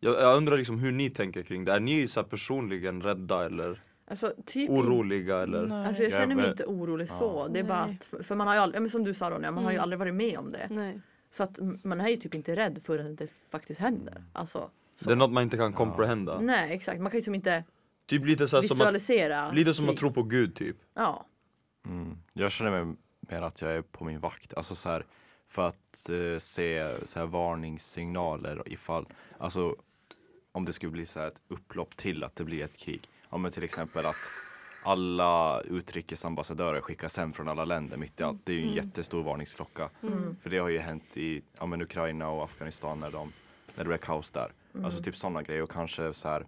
Speaker 6: jag, jag undrar liksom hur ni tänker kring det, är ni så här personligen rädda eller
Speaker 3: Alltså, typ
Speaker 6: oroliga eller?
Speaker 2: Nej.
Speaker 3: Alltså jag
Speaker 5: Jag
Speaker 3: känner mig
Speaker 5: väl-
Speaker 3: inte orolig så. Det är
Speaker 4: Nej.
Speaker 3: bara att, för man har ju aldrig, men som du sa Ronja, man har ju
Speaker 4: Mm.
Speaker 3: aldrig varit med om det.
Speaker 4: nej.
Speaker 3: Så att m- man är ju typ inte rädd förrän det faktiskt händer. Alltså,
Speaker 6: Det är något man inte kan comprehenda.
Speaker 3: nej exakt, man kan ju som inte
Speaker 6: Typ lite så här som att,
Speaker 3: visualisera.
Speaker 6: lite som att
Speaker 3: krig.
Speaker 6: tro på gud typ.
Speaker 3: Ja.
Speaker 5: Mm. Jag känner mig mer att jag är på min vakt, alltså så här, för att eh, se så här, varningssignaler ifall, alltså om det skulle bli så här ett upplopp till att det blir ett krig. Om men till exempel att alla utrikesambassadörer skickas hem från alla länder mitt i allt. Det är ju
Speaker 3: Mm.
Speaker 5: en jättestor varningsklocka. För det har ju hänt i ja, men Ukraina och Afghanistan när, de, när det blev kaos där.
Speaker 3: Mm.
Speaker 5: Alltså typ sådana grejer och kanske så här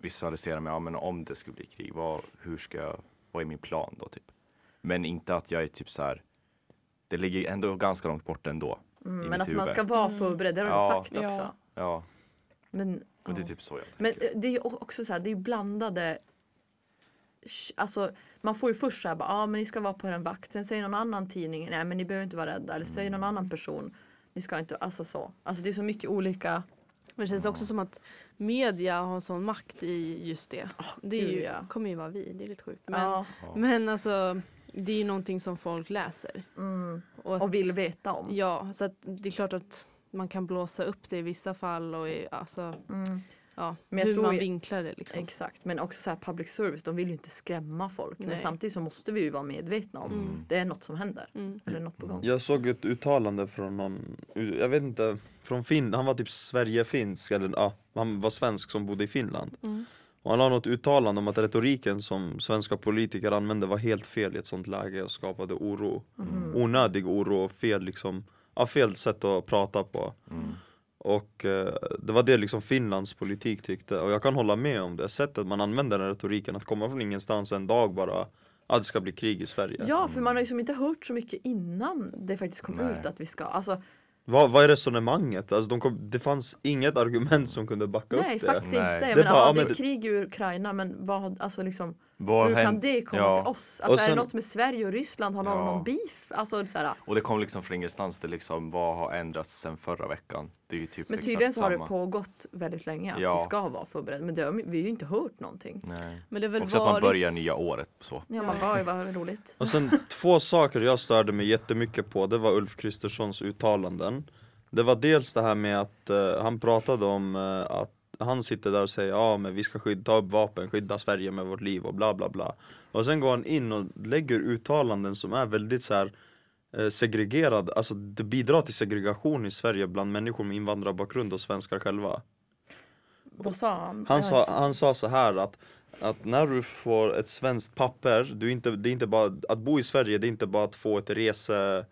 Speaker 5: visualisera mig, ja, men om det skulle bli krig, vad, hur ska jag, vad är min plan då typ? Men inte att jag är typ så här, det ligger ändå ganska långt bort ändå. i
Speaker 3: Mm, men
Speaker 5: mitt
Speaker 3: att man
Speaker 5: huvud.
Speaker 3: ska vara förberedd, det har de
Speaker 5: Ja.
Speaker 3: sagt också.
Speaker 2: Ja.
Speaker 5: Ja,
Speaker 3: Men,
Speaker 5: men det är
Speaker 3: ja.
Speaker 5: typ så jag tänker.
Speaker 3: Men eh, det är ju o- också så här, det är ju blandade sh- Alltså man får ju först såhär, ja ah, men ni ska vara på en vakt. Sen säger någon annan tidning, nej men ni behöver inte vara rädda. Eller säger någon annan person, ni ska inte, alltså så. Alltså det är så mycket olika.
Speaker 4: Men det känns också som att media har sån makt i just det. det är
Speaker 3: Ah, gud,
Speaker 4: ju,
Speaker 3: ja.
Speaker 4: kommer ju vara vi, det är lite sjukt. Men,
Speaker 3: Ja,
Speaker 4: men alltså det är ju någonting som folk läser.
Speaker 3: mm,
Speaker 4: att-
Speaker 3: och vill veta om.
Speaker 4: Ja, så att det är klart att man kan blåsa upp det i vissa fall och i, alltså,
Speaker 3: Mm,
Speaker 4: ja,
Speaker 3: Men jag
Speaker 4: hur
Speaker 3: tror
Speaker 4: man
Speaker 3: ju-
Speaker 4: vinklar det liksom.
Speaker 3: exakt, men också så här public service, de vill ju inte skrämma folk. Men
Speaker 4: Nej.
Speaker 3: samtidigt så måste vi ju vara medvetna om
Speaker 5: Mm.
Speaker 3: det är något som händer.
Speaker 4: Mm.
Speaker 3: Eller något på gång.
Speaker 6: Jag såg ett uttalande från någon, jag vet inte, från Finland, han var typ Sverigefinsk eller ja, han var svensk som bodde i Finland.
Speaker 4: Mm.
Speaker 6: Och han la något uttalande om att retoriken som svenska politiker använde var helt fel i ett sånt läge och skapade oro. Onödig oro och fel liksom, ja, fel sätt att prata på. Och eh, det var det liksom Finlands politik tyckte och jag kan hålla med om det sättet man använder den här retoriken att komma från ingenstans en dag bara att det ska bli krig i Sverige.
Speaker 3: Ja, för man har ju som inte hört så mycket innan det faktiskt kom
Speaker 5: Nej.
Speaker 3: ut att vi ska, alltså
Speaker 6: Vad, vad är resonemanget? Alltså de kom, det fanns inget argument som kunde backa
Speaker 3: Nej
Speaker 6: upp det.
Speaker 3: faktiskt
Speaker 5: Nej.
Speaker 3: inte.
Speaker 5: Det
Speaker 3: Jag
Speaker 6: är
Speaker 3: menar,
Speaker 6: bara,
Speaker 3: ja,
Speaker 6: ja,
Speaker 3: det är
Speaker 6: men-
Speaker 3: krig i Ukraina men vad, alltså liksom,
Speaker 5: Vad
Speaker 3: hur kan
Speaker 5: hänt-
Speaker 3: det komma
Speaker 5: Ja.
Speaker 3: till oss? Alltså
Speaker 6: Och
Speaker 3: är det
Speaker 6: sen-
Speaker 3: något med Sverige och Ryssland? Har någon
Speaker 5: Ja.
Speaker 3: någon beef? Alltså, så här,
Speaker 5: Och det kom liksom från ingenstans, det är liksom vad har ändrats sen förra veckan? Det är ju typ
Speaker 3: men
Speaker 5: exakt
Speaker 3: tydligen så har det
Speaker 5: samma.
Speaker 3: pågått väldigt länge att
Speaker 5: Ja. Mm.
Speaker 3: vi ska vara förberedda. Men det har, vi vi har ju inte hört någonting.
Speaker 5: Nej.
Speaker 4: Men det har väl
Speaker 5: Också att man
Speaker 4: varit...
Speaker 5: börjar nya året så.
Speaker 3: Ja, man bara, oj vad roligt.
Speaker 6: Och sen två saker jag störde mig jättemycket på, det var Ulf Kristerssons uttalanden. Det var dels det här med att eh, han pratade om eh, att han sitter där och säger ja men vi ska skydda, ta upp vapen, skydda Sverige med vårt liv och bla bla bla. Och sen går han in och lägger uttalanden som är väldigt så här eh, segregerad, alltså det bidrar till segregation i Sverige bland människor med invandrarbakgrund och svenskar själva.
Speaker 3: Vad sa han?
Speaker 6: Han sa,
Speaker 3: Alltså,
Speaker 6: han sa så här att, att när du får ett svenskt papper, du är inte, det är inte bara, att bo i Sverige det är inte bara att få ett rese,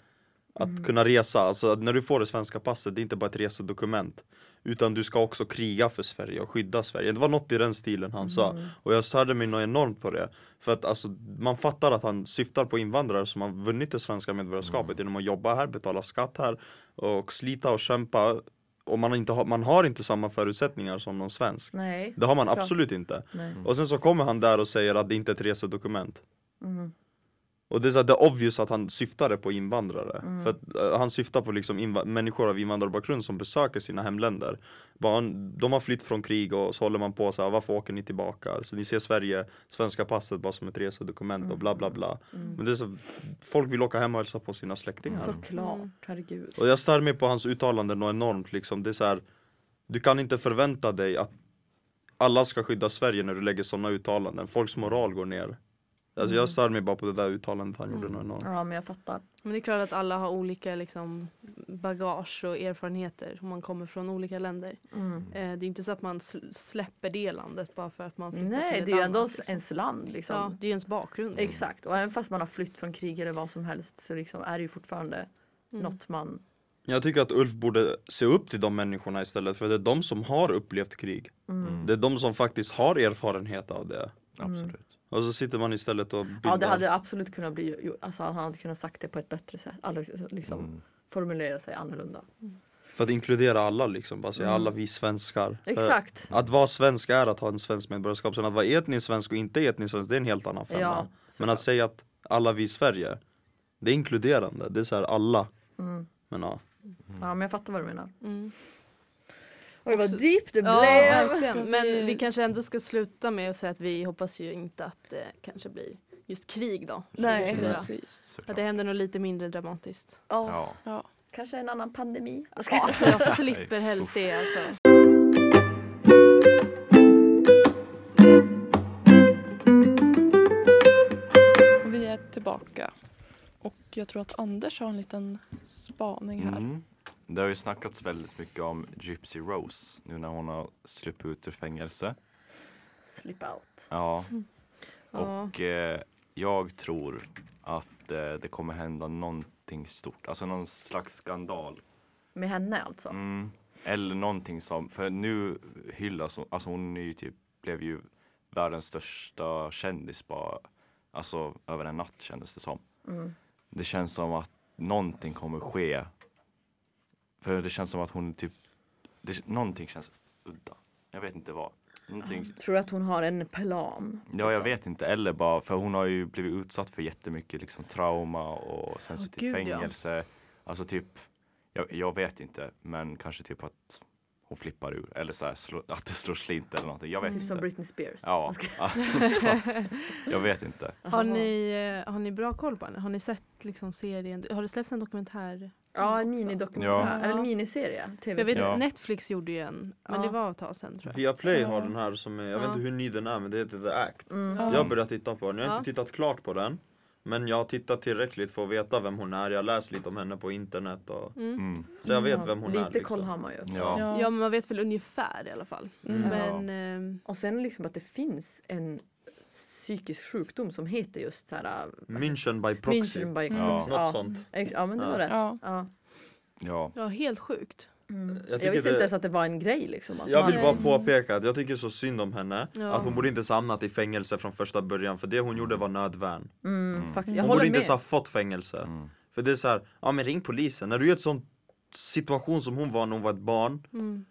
Speaker 6: att kunna resa, alltså att när du får det svenska passet det är inte bara ett resedokument utan du ska också kriga för Sverige och skydda Sverige. Det var något i den stilen han sa och jag störde mig nog enormt på det. För att alltså, man fattar att han syftar på invandrare som har vunnit det svenska medborgarskapet genom att jobba här, betala skatt här och slita och kämpa och man har inte, har- man har inte samma förutsättningar som någon svensk.
Speaker 3: Nej.
Speaker 6: Det har man
Speaker 3: Såklart.
Speaker 6: absolut inte.
Speaker 3: Nej.
Speaker 6: Och sen så kommer han där och säger att det inte är ett resedokument. Och det är så här, det är obvious att han syftade på invandrare. För att eh, han syftar på liksom inva- människor av invandrarbakgrund som besöker sina hemländer. Barn, de har flytt från krig och så håller man på så här, varför åker ni tillbaka? Så ni ser Sverige, svenska passet bara som ett resedokument och bla bla bla. Men det är så, folk vill åka hem och hälsa på sina släktingar.
Speaker 4: Mm.
Speaker 3: Såklart, herregud.
Speaker 6: Och jag stör mig på hans uttalanden och enormt liksom. Det är så här, du kan inte förvänta dig att alla ska skydda Sverige när du lägger sådana uttalanden. Folks moral går ner. Alltså jag stör mig bara på det där uttalandet han gjorde. något enormt.
Speaker 3: Mm. Ja men jag fattar.
Speaker 4: Men det är klart att alla har olika liksom, bagage och erfarenheter om man kommer från olika länder.
Speaker 3: Mm.
Speaker 4: Eh,
Speaker 5: Mm.
Speaker 4: det är ju inte så att man sl- släpper det landet bara för att man flyttar till
Speaker 3: Nej
Speaker 4: ett
Speaker 3: det är ju ändå
Speaker 4: annat, liksom.
Speaker 3: ens land liksom.
Speaker 4: Ja, det är ju ens bakgrund.
Speaker 3: Exakt och även fast man har flytt från krig eller vad som helst så liksom är det ju fortfarande
Speaker 4: Mm.
Speaker 3: något man
Speaker 6: Jag tycker att Ulf borde se upp till de människorna istället för det är de som har upplevt krig.
Speaker 3: Mm.
Speaker 6: Det är de som faktiskt har erfarenhet av det.
Speaker 5: Absolut.
Speaker 6: Och så sitter man istället och bildar.
Speaker 3: Ja det hade absolut kunnat bli, ju- alltså han hade kunnat sagt det på ett bättre sätt. Alltså, liksom formulera sig annorlunda.
Speaker 6: För att inkludera alla liksom. Bara säga alla vi svenskar. För-
Speaker 3: Mm. Exakt.
Speaker 6: Att vara svensk är att ha en svensk medborgarskap, sen att vara etnisk svensk och inte etnisk svensk det är en helt annan femma.
Speaker 3: Ja,
Speaker 6: Men alltså- att säga att alla vi i Sverige, det är inkluderande, det är så här alla. Men ja.
Speaker 3: Ja men jag fattar vad du menar.
Speaker 4: Mm.
Speaker 3: Oj vad deep det
Speaker 4: Ja,
Speaker 3: blev!
Speaker 2: Ska
Speaker 4: verkligen. Men
Speaker 2: vi-
Speaker 4: vi kanske ändå ska sluta med att säga att vi hoppas ju inte att det kanske blir just krig då.
Speaker 3: Nej.
Speaker 4: Ja.
Speaker 2: Precis.
Speaker 5: Såklart.
Speaker 4: Att det händer något lite mindre dramatiskt.
Speaker 3: Ja,
Speaker 5: Ja.
Speaker 2: Ja.
Speaker 3: kanske en annan pandemi.
Speaker 4: Alltså jag slipper helst det alltså.
Speaker 2: Vi är tillbaka. Och jag tror att Anders har en liten spaning här.
Speaker 5: Mm. Det har ju snackats väldigt mycket om Gypsy Rose nu när hon har sluppit ut ur fängelse.
Speaker 3: Slip out.
Speaker 5: Ja,
Speaker 4: Ja.
Speaker 5: och eh, jag tror att eh, det kommer hända någonting stort, alltså någon slags skandal.
Speaker 3: Med henne alltså.
Speaker 5: Mm. Eller någonting som, för nu hyllas hon, alltså hon är ju typ, blev ju världens största kändis bara, alltså över en natt kändes det som. Det känns som att någonting kommer ske. För det känns som att hon typ, det, någonting känns udda. Jag vet inte vad. Någonting,
Speaker 3: Tror du att hon har en plan?
Speaker 5: Ja, jag vet inte. Eller bara, för hon har ju blivit utsatt för jättemycket liksom, trauma och sen suttit i
Speaker 4: gud, ja.
Speaker 5: fängelse. Alltså typ, jag, jag vet inte, men kanske typ att hon flippar ur eller så här, slå, att det slår slint eller någonting. Jag vet
Speaker 3: Typ
Speaker 5: inte.
Speaker 3: som Britney Spears.
Speaker 5: ja, alltså,
Speaker 3: *laughs*
Speaker 5: jag vet inte.
Speaker 4: Har ni, eh, har ni bra koll på henne? Har ni sett liksom serien? Har det släppts en dokumentär?
Speaker 3: Ja, en
Speaker 4: också?
Speaker 3: minidokumentär.
Speaker 4: Ja.
Speaker 3: Eller en miniserie.
Speaker 4: Jag vet,
Speaker 3: TV-serie.
Speaker 5: Ja.
Speaker 4: Netflix gjorde ju en, men
Speaker 3: Ja.
Speaker 4: det var ett tag sedan tror jag.
Speaker 6: Viaplay har den här som är, jag vet
Speaker 4: Ja.
Speaker 6: inte hur ny den är men det heter The Act.
Speaker 2: Ja.
Speaker 6: Jag har börjat titta på den, jag har inte
Speaker 4: Ja.
Speaker 6: tittat klart på den. Men jag har tittat tillräckligt för att veta vem hon är, jag har läst lite om henne på internet och
Speaker 5: Mm.
Speaker 6: Så jag vet
Speaker 3: Ja,
Speaker 6: vem hon
Speaker 3: Lite
Speaker 6: är liksom.
Speaker 3: Lite koll har man ju.
Speaker 5: Ja.
Speaker 2: Ja.
Speaker 4: Ja men man vet väl ungefär i alla fall.
Speaker 2: Mm.
Speaker 4: Men ehm,
Speaker 3: Och sen liksom att det finns en psykisk sjukdom som heter just så här
Speaker 6: München by proxy,
Speaker 3: München by
Speaker 5: Ja.
Speaker 3: proxy.
Speaker 6: något
Speaker 3: Ja.
Speaker 6: sånt.
Speaker 3: Ex- ja men det var
Speaker 6: Ja.
Speaker 3: rätt. Ja. Mm.
Speaker 2: Ja.
Speaker 5: Ja.
Speaker 4: ja, helt sjukt.
Speaker 6: Jag,
Speaker 3: Jag
Speaker 6: tycker
Speaker 3: visste
Speaker 6: det-
Speaker 3: inte ens att det var en grej liksom. Att
Speaker 6: Jag vill
Speaker 4: Nej.
Speaker 6: bara påpeka att jag tycker så synd om henne
Speaker 4: Ja.
Speaker 6: Att hon borde inte ens ha hamnat i fängelse från första början För det hon gjorde var nödvärn
Speaker 3: mm, fakt- jag
Speaker 6: Hon borde
Speaker 3: håller
Speaker 6: inte
Speaker 3: med.
Speaker 6: ens ha fått fängelse För det är så här, ja men ring polisen När du är i en sån situation som hon var när hon var ett barn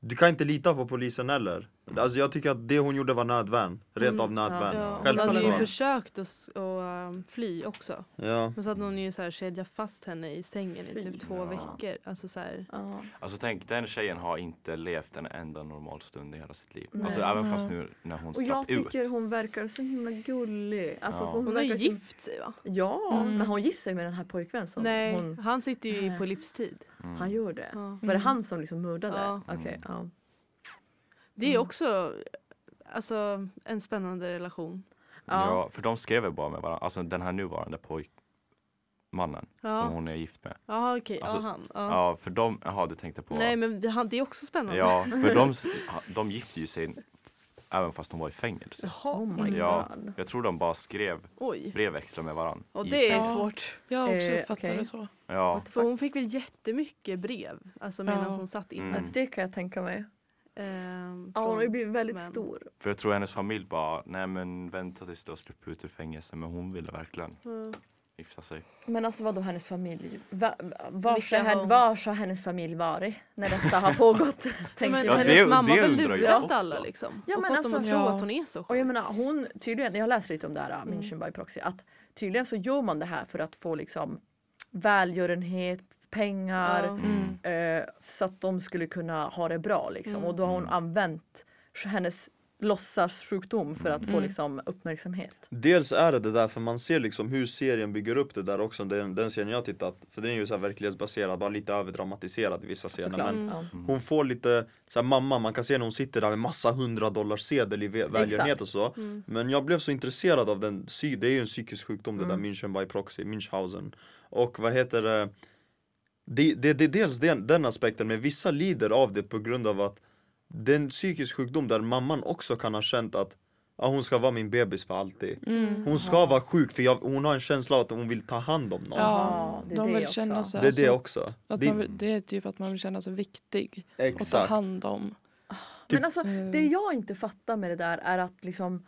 Speaker 6: Du kan inte lita på polisen heller Alltså jag tycker att det hon gjorde var nödvärn Rent av nödvärn
Speaker 4: Ja, hon hade ju
Speaker 6: Självförsvar
Speaker 4: försökt att s- att ehm, fly också.
Speaker 6: ja.
Speaker 4: Men så att hon ju så här kedjat fast henne i sängen i
Speaker 3: Fy.
Speaker 4: typ två
Speaker 5: Ja.
Speaker 4: veckor. Alltså så här,
Speaker 3: Ja.
Speaker 5: Alltså tänk, den tjejen har inte levt en enda normal stund i hela sitt liv. Alltså även fast nu när hon
Speaker 3: Och jag
Speaker 5: slapp ut.
Speaker 3: tycker hon verkar så himla gullig. Alltså,
Speaker 5: Ja.
Speaker 3: för hon, Mm.
Speaker 4: hon har ju
Speaker 3: verkar så...
Speaker 4: gift sig va?
Speaker 3: Ja, men hon gifte sig med den här pojkvännen som
Speaker 4: Nej,
Speaker 3: hon,
Speaker 4: han sitter ju på livstid.
Speaker 6: Mm.
Speaker 3: han gjorde.
Speaker 4: Ja.
Speaker 3: Var det han som liksom mördade?
Speaker 4: Ja.
Speaker 3: Okej, ja.
Speaker 4: Det är också alltså, en spännande relation.
Speaker 5: Ja. för de skrev väl bara med varandra, alltså den här nuvarande pojkmannen
Speaker 4: Ja.
Speaker 5: som hon är gift med.
Speaker 4: Jaha okej,
Speaker 5: Alltså,
Speaker 4: ja han. Ja.
Speaker 5: Ja, för de, jaha du tänkte på.
Speaker 4: Nej men det, han, det är också spännande.
Speaker 5: Ja, för de, s- de gifte ju sig även fast de var i fängelse.
Speaker 4: Jaha.
Speaker 3: Oh
Speaker 6: Mm.
Speaker 3: my
Speaker 5: Ja,
Speaker 3: god.
Speaker 5: jag tror de bara skrev
Speaker 4: Oj.
Speaker 5: brevväxlar med varandra.
Speaker 4: Och det är
Speaker 2: Ja.
Speaker 4: svårt.
Speaker 2: Jag har också
Speaker 3: Eh,
Speaker 2: uppfattat
Speaker 3: okej.
Speaker 2: det så.
Speaker 5: Ja,
Speaker 4: För hon fick väl jättemycket brev alltså medan
Speaker 2: Ja.
Speaker 4: hon satt inne.
Speaker 5: Mm.
Speaker 3: Det kan jag tänka mig.
Speaker 4: Ehm,
Speaker 3: Ja, hon har ju
Speaker 4: från-
Speaker 3: blivit väldigt
Speaker 4: Men-
Speaker 3: stor.
Speaker 5: för jag tror hennes familj bara, nej men vänta tills du har sluppit ut ur fängelse. Men hon ville verkligen
Speaker 4: Ja.
Speaker 5: gifta sig.
Speaker 3: Men alltså vadå hennes familj? Va, var, ska
Speaker 4: Vilka har
Speaker 3: hen,
Speaker 4: hon-
Speaker 3: var ska hennes familj varit när detta har
Speaker 6: *laughs*
Speaker 3: pågått? tänker
Speaker 4: men
Speaker 5: Ja,
Speaker 3: jag.
Speaker 4: hennes
Speaker 5: det-
Speaker 4: mamma
Speaker 5: det
Speaker 4: har väl
Speaker 5: undrar jag
Speaker 4: lurat
Speaker 5: också.
Speaker 4: alla liksom.
Speaker 3: Ja,
Speaker 4: och
Speaker 3: men
Speaker 4: fått
Speaker 3: alltså-
Speaker 4: dem att tro
Speaker 2: Ja.
Speaker 4: att hon är så
Speaker 3: Och
Speaker 4: sjuk.
Speaker 3: jag menar hon, tydligen, jag har läst lite om det här äh,
Speaker 4: Mm.
Speaker 3: München by proxy, att tydligen så gör man det här för att få liksom välgörenhet, pengar,
Speaker 4: Ja.
Speaker 5: Mm.
Speaker 3: eh, så att de skulle kunna ha det bra liksom.
Speaker 4: Mm.
Speaker 3: Och då har
Speaker 5: Mm.
Speaker 3: hon använt hennes låtsas sjukdom för att få
Speaker 2: Mm.
Speaker 3: liksom uppmärksamhet.
Speaker 6: Dels är det det där för man ser liksom hur serien bygger upp det där också, den, den serien jag tittat För den är ju så här verklighetsbaserad, bara lite överdramatiserad i vissa scener
Speaker 3: Såklart.
Speaker 6: men
Speaker 3: Ja.
Speaker 6: Hon får lite, så här, mamma man kan se när hon sitter där med massa hundra dollar sedel i ve- välgörenhet och så
Speaker 3: Mm.
Speaker 6: Men jag blev så intresserad av den, psy- det är ju en psykisk sjukdom det
Speaker 3: Mm.
Speaker 6: där München by proxy, Münchhausen Och vad heter det det, det, det är dels den, den aspekten, men vissa lider av det på grund av att det är en psykisk sjukdom där mamman också kan ha känt att ja, hon ska vara min bebis för alltid.
Speaker 2: Mm.
Speaker 6: Hon ska vara sjuk för jag, hon har en känsla av att hon vill ta hand om någon.
Speaker 2: Ja,
Speaker 3: det är
Speaker 2: de
Speaker 3: det
Speaker 2: vill
Speaker 3: också.
Speaker 2: känna sig...
Speaker 6: det är
Speaker 2: alltså,
Speaker 6: det också.
Speaker 2: Att
Speaker 6: det,
Speaker 2: man, vill- det är typ att man vill känna sig viktig och ta
Speaker 6: exakt.
Speaker 2: hand om.
Speaker 3: Men alltså
Speaker 4: Mm.
Speaker 3: det jag inte fattar med det där är att liksom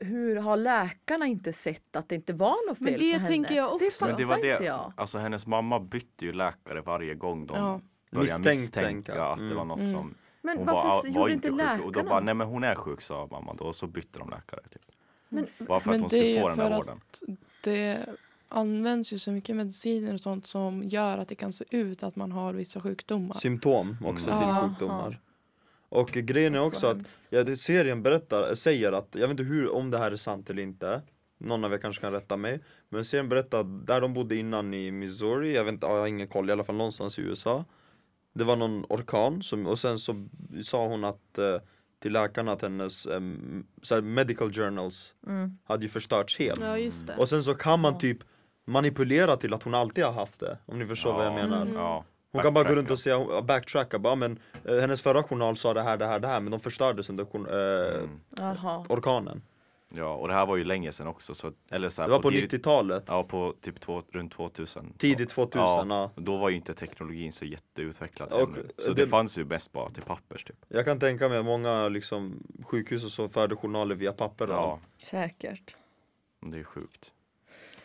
Speaker 3: hur har läkarna inte sett att det inte var något fel
Speaker 4: Men
Speaker 3: på
Speaker 4: det
Speaker 3: henne?
Speaker 4: tänker jag
Speaker 3: Det
Speaker 4: också.
Speaker 3: fattar
Speaker 5: Men det var
Speaker 3: inte
Speaker 5: det,
Speaker 3: jag.
Speaker 5: alltså hennes mamma bytte ju läkare varje gång de
Speaker 2: Ja.
Speaker 5: började
Speaker 6: Misstänka.
Speaker 5: misstänka att det var något
Speaker 4: Mm.
Speaker 5: som
Speaker 3: Men
Speaker 5: hon
Speaker 3: varför
Speaker 5: var,
Speaker 3: så
Speaker 5: var
Speaker 3: gjorde
Speaker 5: inte
Speaker 3: inte
Speaker 5: sjuk. Och då bara,
Speaker 3: läkarna?
Speaker 5: nej men hon är sjuk sa mamma då och så bytte de läkare. Typ.
Speaker 3: Men-
Speaker 5: bara för att
Speaker 2: Men
Speaker 5: hon
Speaker 2: det är
Speaker 5: skulle
Speaker 2: ju
Speaker 5: få den
Speaker 2: för
Speaker 5: där
Speaker 2: att-
Speaker 5: vården.
Speaker 2: Det används ju så mycket mediciner och sånt som gör att det kan se ut att man har vissa sjukdomar.
Speaker 6: Symptom också
Speaker 2: Mm.
Speaker 6: till
Speaker 2: Aha.
Speaker 6: sjukdomar. Och grejen är också att ja, det, serien berättar, säger att, jag vet inte hur, om det här är sant eller inte Någon av er kanske kan rätta mig Men serien berättar att där de bodde innan i Missouri, jag vet inte, jag har ingen koll, i alla fall någonstans i USA Det var någon orkan som, och sen så sa hon att eh, till läkarna att hennes em, så här medical journals hade ju förstörts helt
Speaker 4: Mm. Ja just
Speaker 5: Mm.
Speaker 4: det.
Speaker 6: Och sen så kan man typ manipulera till att hon alltid har haft det Om ni förstår vad jag menar
Speaker 5: Ja.
Speaker 6: hon kan bara gå
Speaker 5: Backtracka.
Speaker 6: runt och säga, backtracka, bara men eh, hennes förra journal sa det här, det här, det här men de förstördes under jour- eh,
Speaker 5: Mm.
Speaker 3: Jaha.
Speaker 6: orkanen.
Speaker 5: Ja, och det här var ju länge sedan också. Så, eller så här,
Speaker 6: Det var på
Speaker 5: tidigt-
Speaker 6: 90-talet,
Speaker 5: Ja, på typ två, runt 2000.
Speaker 6: tidigt 2000.
Speaker 5: Ja,
Speaker 6: Ja.
Speaker 5: Då var ju inte teknologin så jätteutvecklad
Speaker 6: Och
Speaker 5: ännu. Så det,
Speaker 6: det-
Speaker 5: fanns ju bäst bara till pappers typ.
Speaker 6: Jag kan tänka mig att många liksom, sjukhus och så förde journaler via papper.
Speaker 5: Ja,
Speaker 6: Ja.
Speaker 3: Säkert.
Speaker 5: det är sjukt.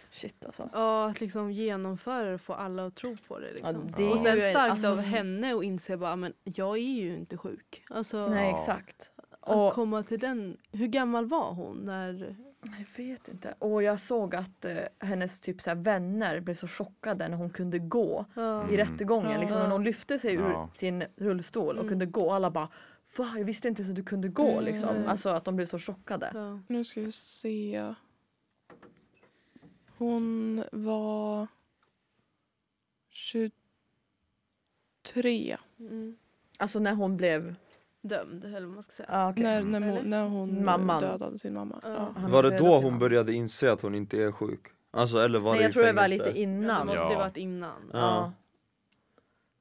Speaker 3: Shit alltså.
Speaker 4: Ja, att liksom genomföra det och få alla att tro på det. Liksom.
Speaker 3: det är
Speaker 4: och sen
Speaker 3: ju en-
Speaker 4: starkt
Speaker 3: alltså-
Speaker 4: av henne och inse bara, men jag är ju inte sjuk. Alltså,
Speaker 3: Nej
Speaker 5: Ja.
Speaker 3: exakt.
Speaker 4: att
Speaker 3: Och,
Speaker 4: komma till den. Hur gammal var hon när...
Speaker 3: jag vet inte. Och jag såg att eh, hennes typ så här, vänner blev så chockade när hon kunde gå
Speaker 4: Ja.
Speaker 6: Mm.
Speaker 3: i rättegången. Liksom, när hon lyfte sig ur
Speaker 5: Ja.
Speaker 3: sin rullstol och kunde gå. Alla bara Va? Jag visste inte ens att du kunde gå liksom. Alltså att de blev så chockade.
Speaker 4: Ja.
Speaker 2: Nu ska vi se. Hon var 23
Speaker 4: Mm.
Speaker 3: Alltså när hon blev...
Speaker 4: Dömd eller vad man ska säga.
Speaker 3: Ah, okay.
Speaker 2: när, när, hon, när hon
Speaker 3: Mamman.
Speaker 2: dödade sin mamma. Ja.
Speaker 3: Han
Speaker 6: Var det
Speaker 3: dödade
Speaker 6: då
Speaker 3: sin
Speaker 6: hon
Speaker 3: mamma.
Speaker 6: började inse att hon inte är sjuk? Alltså eller var
Speaker 3: Nej
Speaker 6: det
Speaker 3: jag
Speaker 6: i
Speaker 3: tror det var
Speaker 6: fängelse?
Speaker 3: lite
Speaker 4: Ja, Alltså, det
Speaker 3: innan.
Speaker 4: måste
Speaker 5: Ja.
Speaker 4: ju varit innan.
Speaker 6: Ja. Mm.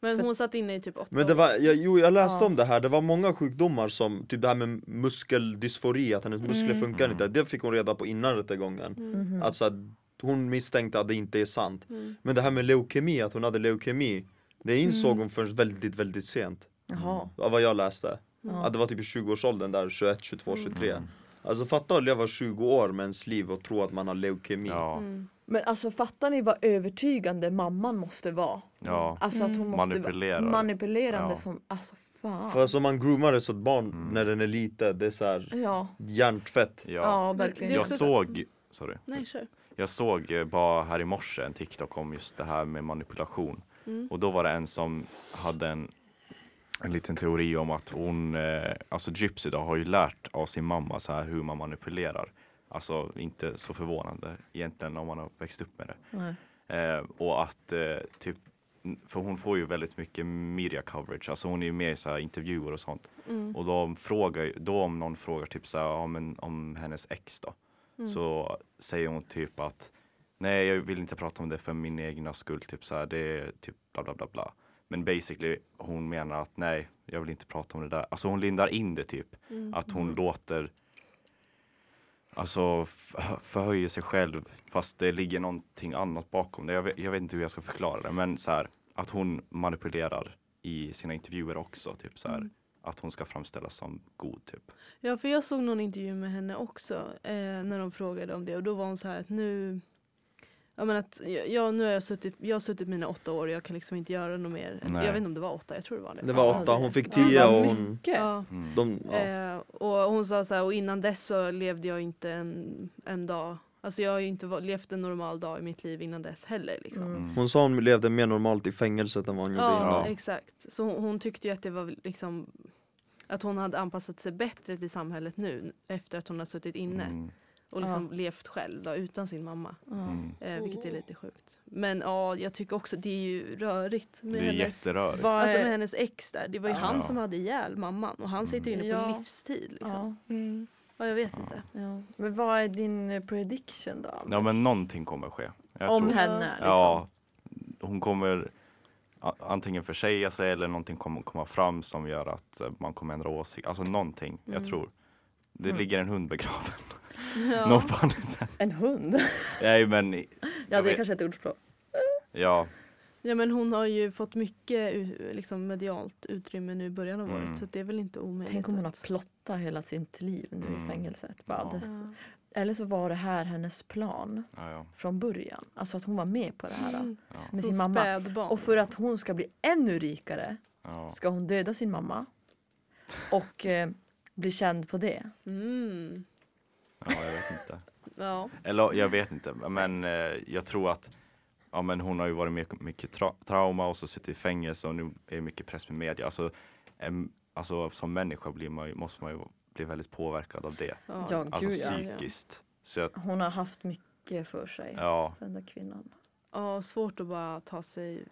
Speaker 4: Men hon satt inne i typ åtta
Speaker 6: Men det
Speaker 4: år.
Speaker 6: var, jag, jo jag läste om det här, det var många sjukdomar som, typ det här med muskeldysfori, att hennes muskler funkar inte, det fick hon reda på innan rättegången. Alltså att hon misstänkte att det inte är sant. Men det här med leukemi, att hon hade leukemi, det insåg hon först väldigt, väldigt sent.
Speaker 3: Jaha.
Speaker 6: Av vad jag läste. Att det var typ i 20-årsåldern där, 21, 22, 23. Alltså fatta att leva 20 år med ens liv och tro att man har leukemi.
Speaker 5: Ja,
Speaker 4: Mm.
Speaker 3: Men alltså fattar ni vad övertygande mamman måste vara?
Speaker 5: ja.
Speaker 3: Alltså att hon måste
Speaker 5: Manipulerande.
Speaker 3: vara manipulerande
Speaker 5: Ja.
Speaker 3: som, alltså fan.
Speaker 6: För alltså man groomar ett sånt barn när den är liten, det är såhär
Speaker 3: Ja,
Speaker 6: hjärntvätt.
Speaker 3: ja,
Speaker 5: ja.
Speaker 3: verkligen.
Speaker 4: det är
Speaker 5: Jag
Speaker 4: också-
Speaker 5: såg, sorry.
Speaker 4: Nej, kör.
Speaker 5: Jag såg eh, bara här i morse en TikTok om just det här med manipulation.
Speaker 4: Mm.
Speaker 5: Och då var det en som hade en, en liten teori om att hon, eh, alltså Gypsy då, har ju lärt av sin mamma så här hur man manipulerar. Alltså inte så förvånande egentligen om man har växt upp med det. Eh, och att eh, typ för hon får ju väldigt mycket media coverage, alltså hon är ju med i så här intervjuer och sånt.
Speaker 4: Mm.
Speaker 5: Och de frågar, ju- då om någon frågar typ så här, ja, men om hennes ex då, så säger hon typ att nej, jag vill inte prata om det för min egna skull, typ så här, det är typ bla bla bla bla. Men basically hon menar att nej, jag vill inte prata om det där. Alltså hon lindar in det typ, att hon låter Alltså f- förhöjer sig själv fast det ligger någonting annat bakom det. Jag vet, jag vet inte hur jag ska förklara det men så här, att hon manipulerar i sina intervjuer också. Typ så här, Att hon ska framställas som god typ.
Speaker 4: Ja, för jag såg någon intervju med henne också eh, när de frågade om det och då var hon så här att nu Ja men att jag- jag, nu har jag suttit, jag har suttit mina åtta år och jag kan liksom inte göra något mer.
Speaker 5: Nej.
Speaker 4: Jag vet inte om det var åtta, jag tror det var det.
Speaker 6: Det var åtta, hon fick tio och hon...
Speaker 4: Ja.
Speaker 5: Mm.
Speaker 6: De, ja.
Speaker 4: Eh, och hon sa så här, och innan dess så levde jag inte en, en dag. Alltså jag har ju inte va- levt en normal dag i mitt liv innan dess heller liksom.
Speaker 5: Mm.
Speaker 6: Hon sa hon levde mer normalt i fängelset än vad hon gjorde
Speaker 4: Ja,
Speaker 6: innan.
Speaker 4: exakt. Så hon, hon tyckte ju att det var liksom att hon hade anpassat sig bättre till samhället nu efter att hon har suttit inne
Speaker 5: Mm.
Speaker 4: och liksom levt själv då, utan sin mamma.
Speaker 5: Mm.
Speaker 4: Eh, vilket är
Speaker 3: Oh.
Speaker 4: lite sjukt. Men ja, jag tycker också det är ju rörigt med,
Speaker 5: Det är
Speaker 4: hennes,
Speaker 5: jätterörigt.
Speaker 3: Vad
Speaker 4: alltså med
Speaker 3: är,
Speaker 4: hennes ex där. Det var ju
Speaker 3: Ja.
Speaker 4: han som hade ihjäl mamman och han sitter inne på
Speaker 3: Mm. Ja.
Speaker 4: livstid. Liksom. Ja.
Speaker 3: ja,
Speaker 2: Mm.
Speaker 4: jag vet inte.
Speaker 3: ja. Men vad är din eh, prediction då?
Speaker 5: Ja men någonting kommer ske. Jag
Speaker 3: Om
Speaker 5: tror-
Speaker 3: henne liksom?
Speaker 5: Ja, hon kommer a- antingen försäga sig eller någonting kommer komma fram som gör att eh, man kommer ändra åsikt. Alltså någonting, jag tror. Det ligger en hund begraven. *laughs* Någonstans.
Speaker 3: En hund? *laughs*
Speaker 5: Nej men, i-
Speaker 3: Ja
Speaker 5: Jag
Speaker 3: det är
Speaker 5: vet-
Speaker 3: kanske ett ordspråk.
Speaker 5: ja.
Speaker 4: Ja, men hon har ju fått mycket u- liksom, medialt utrymme nu i början av
Speaker 5: Mm.
Speaker 4: året så det är väl inte omöjligt.
Speaker 3: Tänk om hon har
Speaker 4: att-
Speaker 3: plottat hela sitt liv nu i
Speaker 5: Mm.
Speaker 3: fängelset. Bara,
Speaker 5: Ja.
Speaker 3: dess. Eller så var det här hennes plan
Speaker 5: ja, ja.
Speaker 3: från början. Alltså att hon var med på det här
Speaker 4: Mm.
Speaker 3: med
Speaker 4: Som
Speaker 3: sin mamma.
Speaker 4: spädbarn.
Speaker 3: Och för att hon ska bli ännu rikare
Speaker 5: ja.
Speaker 3: ska hon döda sin mamma och eh, bli känd på det.
Speaker 4: Mm.
Speaker 5: ja jag vet inte.
Speaker 4: Ja.
Speaker 5: Eller jag vet inte, men eh, jag tror att ja, men hon har ju varit med mycket tra- trauma och så suttit i fängelse och nu är det mycket press med media. Alltså, em, alltså som människa blir man ju, måste man ju bli väldigt påverkad av det.
Speaker 4: Ja.
Speaker 3: Ja,
Speaker 5: Alltså
Speaker 3: gud ja.
Speaker 5: psykiskt. Så jag,
Speaker 3: Hon har haft mycket för sig.
Speaker 5: ja,
Speaker 3: Den där kvinnan.
Speaker 4: ja, svårt att bara ta sig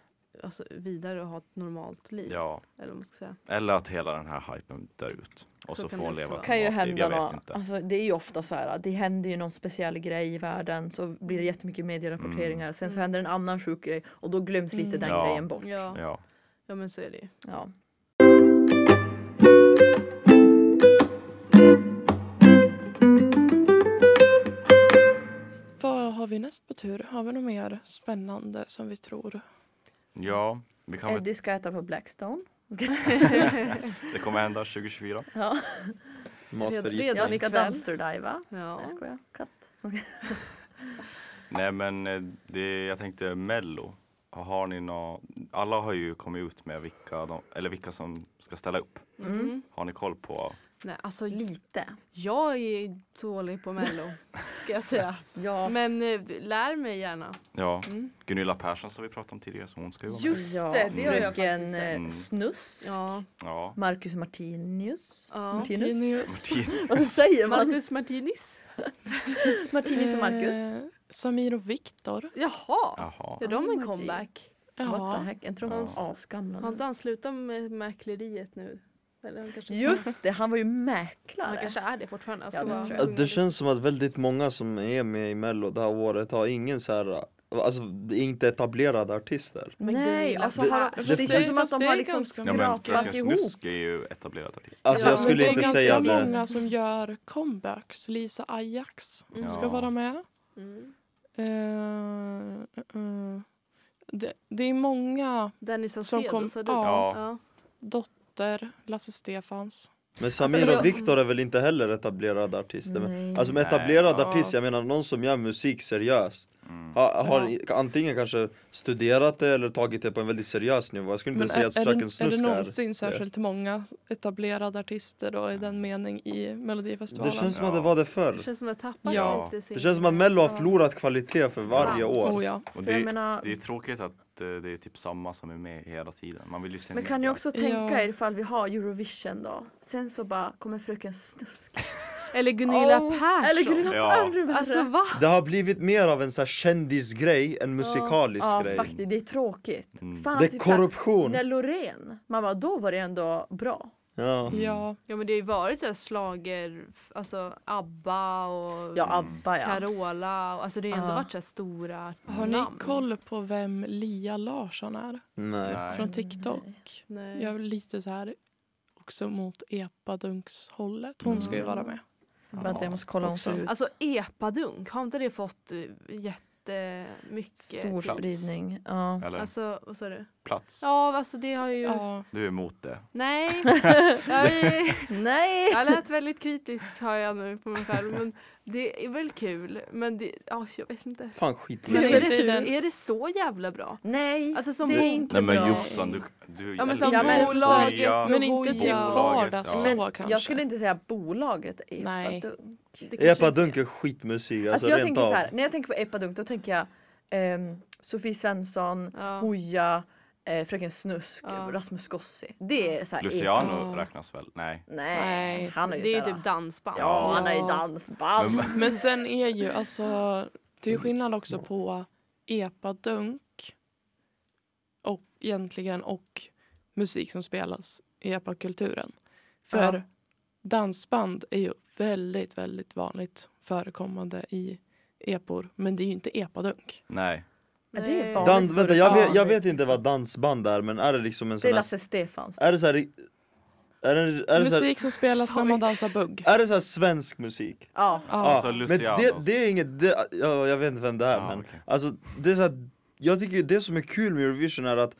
Speaker 4: alltså, vidare och ha ett normalt liv.
Speaker 5: ja.
Speaker 4: Eller vad man ska säga.
Speaker 5: Eller att hela den här hypen dör ut. Och
Speaker 4: Så
Speaker 5: så,
Speaker 4: kan
Speaker 5: får
Speaker 4: det
Speaker 5: hon
Speaker 4: också
Speaker 5: leva
Speaker 4: vara.
Speaker 5: ett
Speaker 3: Kan ju
Speaker 5: normalt liv.
Speaker 3: hända
Speaker 5: Jag vet
Speaker 3: något.
Speaker 5: inte.
Speaker 3: Alltså, det är ju ofta så här. Det händer ju någon speciell grej i världen så blir det jättemycket medierapporteringar. Sen så händer en annan sjuk grej och då glöms lite
Speaker 2: Mm.
Speaker 3: den
Speaker 5: Mm. Ja.
Speaker 3: grejen bort.
Speaker 4: Ja.
Speaker 5: Ja.
Speaker 4: ja, men så är det ju.
Speaker 3: Ja.
Speaker 2: Vad har vi näst på tur? Har vi något mer spännande som vi tror?
Speaker 5: ja, vi kan väl,
Speaker 3: Eddie ska äta på Blackstone.
Speaker 5: det kommer hända 2024.
Speaker 3: Ja.
Speaker 6: Matförgiftning.
Speaker 4: Redan
Speaker 3: Jag ska
Speaker 4: ikväll.
Speaker 3: dumpsterdiva. Nej
Speaker 4: Ja.
Speaker 3: jag skojar. Katt.
Speaker 5: Nej men eh, det, jag tänkte mello. Har ni nå, alla har ju kommit ut med vilka, de, eller vilka som ska ställa upp.
Speaker 4: Mm.
Speaker 5: Har ni koll på?
Speaker 4: Nej, alltså,
Speaker 3: Lite.
Speaker 4: jag är dålig på *laughs* mello, ska jag säga.
Speaker 3: Ja.
Speaker 4: Men eh, lär mig gärna.
Speaker 5: Ja,
Speaker 4: Mm.
Speaker 5: Gunilla Persson som vi pratade om tidigare, så hon ska ju vara med.
Speaker 4: Just det, det har jag
Speaker 3: Fröken,
Speaker 4: faktiskt
Speaker 3: eh,
Speaker 5: sett.
Speaker 3: Snuss.
Speaker 4: Ja.
Speaker 5: Ja.
Speaker 3: Marcus Martinius.
Speaker 4: ja.
Speaker 3: Martinus.
Speaker 5: Martin-
Speaker 3: *laughs* Vad säger man?
Speaker 4: Marcus Martinis.
Speaker 3: Martinus och Marcus.
Speaker 2: Eh, Samir och Viktor.
Speaker 4: Jaha,
Speaker 5: Jaha.
Speaker 4: gör de en
Speaker 3: Oh,
Speaker 4: comeback?
Speaker 3: What the
Speaker 2: Ja.
Speaker 3: heck? Inte de
Speaker 5: Ja.
Speaker 3: asgamla
Speaker 4: Har
Speaker 3: nu?
Speaker 4: inte han slutat med mäkleriet nu? Eller han kanske
Speaker 3: Just det, han var ju
Speaker 4: Han
Speaker 3: mäklare.
Speaker 4: kanske är det fortfarande. Jag ska
Speaker 3: Ja, det
Speaker 4: bara
Speaker 3: tror
Speaker 6: Ja,
Speaker 3: jag.
Speaker 4: sjunga
Speaker 6: Det
Speaker 4: lite.
Speaker 6: känns som att väldigt många som är med i mello det här året har ingen så här, alltså inte etablerade artister
Speaker 4: Men
Speaker 3: Nej,
Speaker 4: Gunilla,
Speaker 3: alltså
Speaker 4: du-
Speaker 3: har,
Speaker 2: Fast
Speaker 3: det,
Speaker 2: det-
Speaker 3: känns som att
Speaker 2: fast
Speaker 3: de
Speaker 2: det
Speaker 3: har
Speaker 2: är
Speaker 3: liksom
Speaker 2: ganska-
Speaker 5: Ja men
Speaker 3: skrapat
Speaker 5: Fröken
Speaker 3: ihop.
Speaker 5: Snusk är ju etablerad artist.
Speaker 6: Alltså jag
Speaker 2: Men
Speaker 6: skulle
Speaker 2: det är
Speaker 6: inte
Speaker 2: ganska
Speaker 6: säga det
Speaker 2: många som gör comebacks. Lisa Ajax ska
Speaker 5: Ja.
Speaker 2: vara med.
Speaker 4: Mm.
Speaker 2: Eh, eh, det, det är många.
Speaker 4: Danny
Speaker 2: kom-
Speaker 4: Saucedo sa du?
Speaker 5: Ja.
Speaker 2: Dotter, Lasse Stefans.
Speaker 6: Men Samir
Speaker 4: jag-
Speaker 6: och Viktor är väl inte heller etablerade artister men,
Speaker 3: Nej.
Speaker 6: Alltså med
Speaker 5: Nej.
Speaker 6: etablerad
Speaker 2: Ja.
Speaker 6: artist, jag menar någon som gör musik seriöst
Speaker 5: Mm.
Speaker 6: har, har
Speaker 2: Ja.
Speaker 6: i- antingen kanske studerat det eller tagit det på en väldigt seriös nivå Jag skulle inte
Speaker 2: Men
Speaker 6: säga att
Speaker 2: är, är,
Speaker 6: Fröken
Speaker 2: det, är det
Speaker 6: Snusk är
Speaker 2: någonsin särskilt många etablerade artister då i den mening i
Speaker 6: Det
Speaker 2: Melodifestivalen?
Speaker 6: känns som att
Speaker 5: Ja.
Speaker 6: det var det
Speaker 4: Det
Speaker 6: förr
Speaker 4: känns som att jag tappar
Speaker 2: Ja.
Speaker 4: lite sin...
Speaker 6: Det känns som att mello har förlorat kvalitet för varje
Speaker 4: Ja.
Speaker 6: år
Speaker 2: oh, ja.
Speaker 5: Och
Speaker 3: För jag
Speaker 5: det,
Speaker 3: menar,
Speaker 5: det är tråkigt att eh, det är typ samma som är med hela tiden. Man vill ju se
Speaker 3: men
Speaker 5: nya.
Speaker 3: kan ni också tänka
Speaker 2: Ja.
Speaker 3: er ifall vi har Eurovision då? Sen så bara kommer fröken Snusk
Speaker 4: Eller Gunilla
Speaker 3: Åh,
Speaker 4: Persson.
Speaker 3: Eller Gunilla
Speaker 5: Ja.
Speaker 3: Ännu värre.
Speaker 4: Alltså va?
Speaker 6: Det har blivit mer av en så här kändisgrej än musikalisk
Speaker 3: Ja
Speaker 6: grej.
Speaker 3: faktiskt, det är tråkigt.
Speaker 5: Mm.
Speaker 3: Fan,
Speaker 6: Det
Speaker 3: typ
Speaker 6: är
Speaker 3: såhär,
Speaker 6: korruption.
Speaker 3: När Loreen, man bara då var det ändå bra.
Speaker 6: Ja.
Speaker 2: Ja,
Speaker 4: Ja men det har ju varit såhär slager, alltså ABBA och
Speaker 3: Ja ABBA ja.
Speaker 4: Carola. Och, alltså det har ju ändå
Speaker 3: Ja.
Speaker 4: varit såhär stora
Speaker 2: har ni
Speaker 4: Mm. namn.
Speaker 2: koll på vem Lia Larsson är?
Speaker 6: Nej.
Speaker 5: Nej.
Speaker 2: Från TikTok.
Speaker 4: Nej.
Speaker 2: Jag är lite så här också mot epadunkshållet.
Speaker 6: Mm.
Speaker 2: Hon ska ju vara med.
Speaker 3: Vänta jag måste kolla om
Speaker 2: Absolut.
Speaker 3: så
Speaker 4: Alltså epadunk, har inte det fått eh, jättemycket
Speaker 3: stor
Speaker 4: plats?
Speaker 3: spridning. Ja.
Speaker 5: Eller
Speaker 4: Alltså, vad sa du?
Speaker 5: plats.
Speaker 4: Ja, alltså det har ju...
Speaker 2: Ja,
Speaker 5: Du är emot det.
Speaker 4: *laughs* Nej. jag, är...
Speaker 3: Nej!
Speaker 4: jag lät väldigt kritisk hör jag nu på mig själv. Men det är väl kul. Men det... ja, jag vet inte.
Speaker 6: Fan skit
Speaker 2: Men
Speaker 4: Men
Speaker 2: hela
Speaker 4: är,
Speaker 2: tiden-
Speaker 4: det, är det så jävla bra?
Speaker 3: Nej!
Speaker 4: Alltså som
Speaker 3: det är
Speaker 4: bo-
Speaker 3: inte
Speaker 5: Nej men
Speaker 3: bra.
Speaker 5: Jossan, du... du
Speaker 4: Ja men
Speaker 5: eller
Speaker 4: som
Speaker 3: Ja,
Speaker 5: du-
Speaker 3: men-
Speaker 4: bolaget
Speaker 5: Ja.
Speaker 4: och
Speaker 2: Men inte
Speaker 4: Hooja
Speaker 2: till
Speaker 4: och-
Speaker 2: vardags
Speaker 5: Ja.
Speaker 2: så
Speaker 3: Men
Speaker 2: kanske.
Speaker 3: jag skulle inte säga bolaget
Speaker 2: Nej.
Speaker 3: Epadunk.
Speaker 4: Det kanske
Speaker 6: Epadunk
Speaker 4: inte-
Speaker 6: är skitmusik, alltså,
Speaker 3: Alltså jag
Speaker 6: rent
Speaker 3: tänker
Speaker 6: av.
Speaker 3: så här, när jag tänker på Epadunk då tänker jag ehm, Sofie Svensson,
Speaker 4: Ja.
Speaker 3: Hooja, eh, Fröken Snusk,
Speaker 4: Ja.
Speaker 3: Rasmus Gossi. Det är såhär
Speaker 5: Luciano
Speaker 2: Ja.
Speaker 5: räknas väl? Nej.
Speaker 3: Nej,
Speaker 2: Nej,
Speaker 3: han är ju
Speaker 4: det är ju
Speaker 3: såhär-
Speaker 4: typ dansband.
Speaker 3: Ja, han är ju
Speaker 2: Ja.
Speaker 3: dansband.
Speaker 5: Men-
Speaker 2: Men sen är ju alltså, det är skillnad också på epadunk och egentligen och musik som spelas i epakulturen. För
Speaker 3: Ja.
Speaker 2: dansband är ju väldigt, väldigt vanligt förekommande i epor, men det är ju inte epadunk.
Speaker 5: Nej.
Speaker 3: Men det är
Speaker 4: Nej.
Speaker 3: vanligt.
Speaker 6: Dan, vänta, jag vet, jag
Speaker 3: Vanligt.
Speaker 6: vet inte vad dansband är men är det liksom en
Speaker 3: Det
Speaker 6: sån
Speaker 3: är
Speaker 6: här...
Speaker 3: Lasse Stefans.
Speaker 6: Är det så här... Är det, är det, så här,
Speaker 2: Musik som spelas när man dansar bugg.
Speaker 6: är det så här svensk musik?
Speaker 3: Ja.
Speaker 2: Ja.
Speaker 5: Alltså
Speaker 6: men
Speaker 5: Luciano.
Speaker 6: det, det är inget, det, ja, jag vet inte vem det är
Speaker 5: Ja,
Speaker 6: men
Speaker 5: okej.
Speaker 6: Alltså det är så här, jag tycker det som är kul med Eurovision är att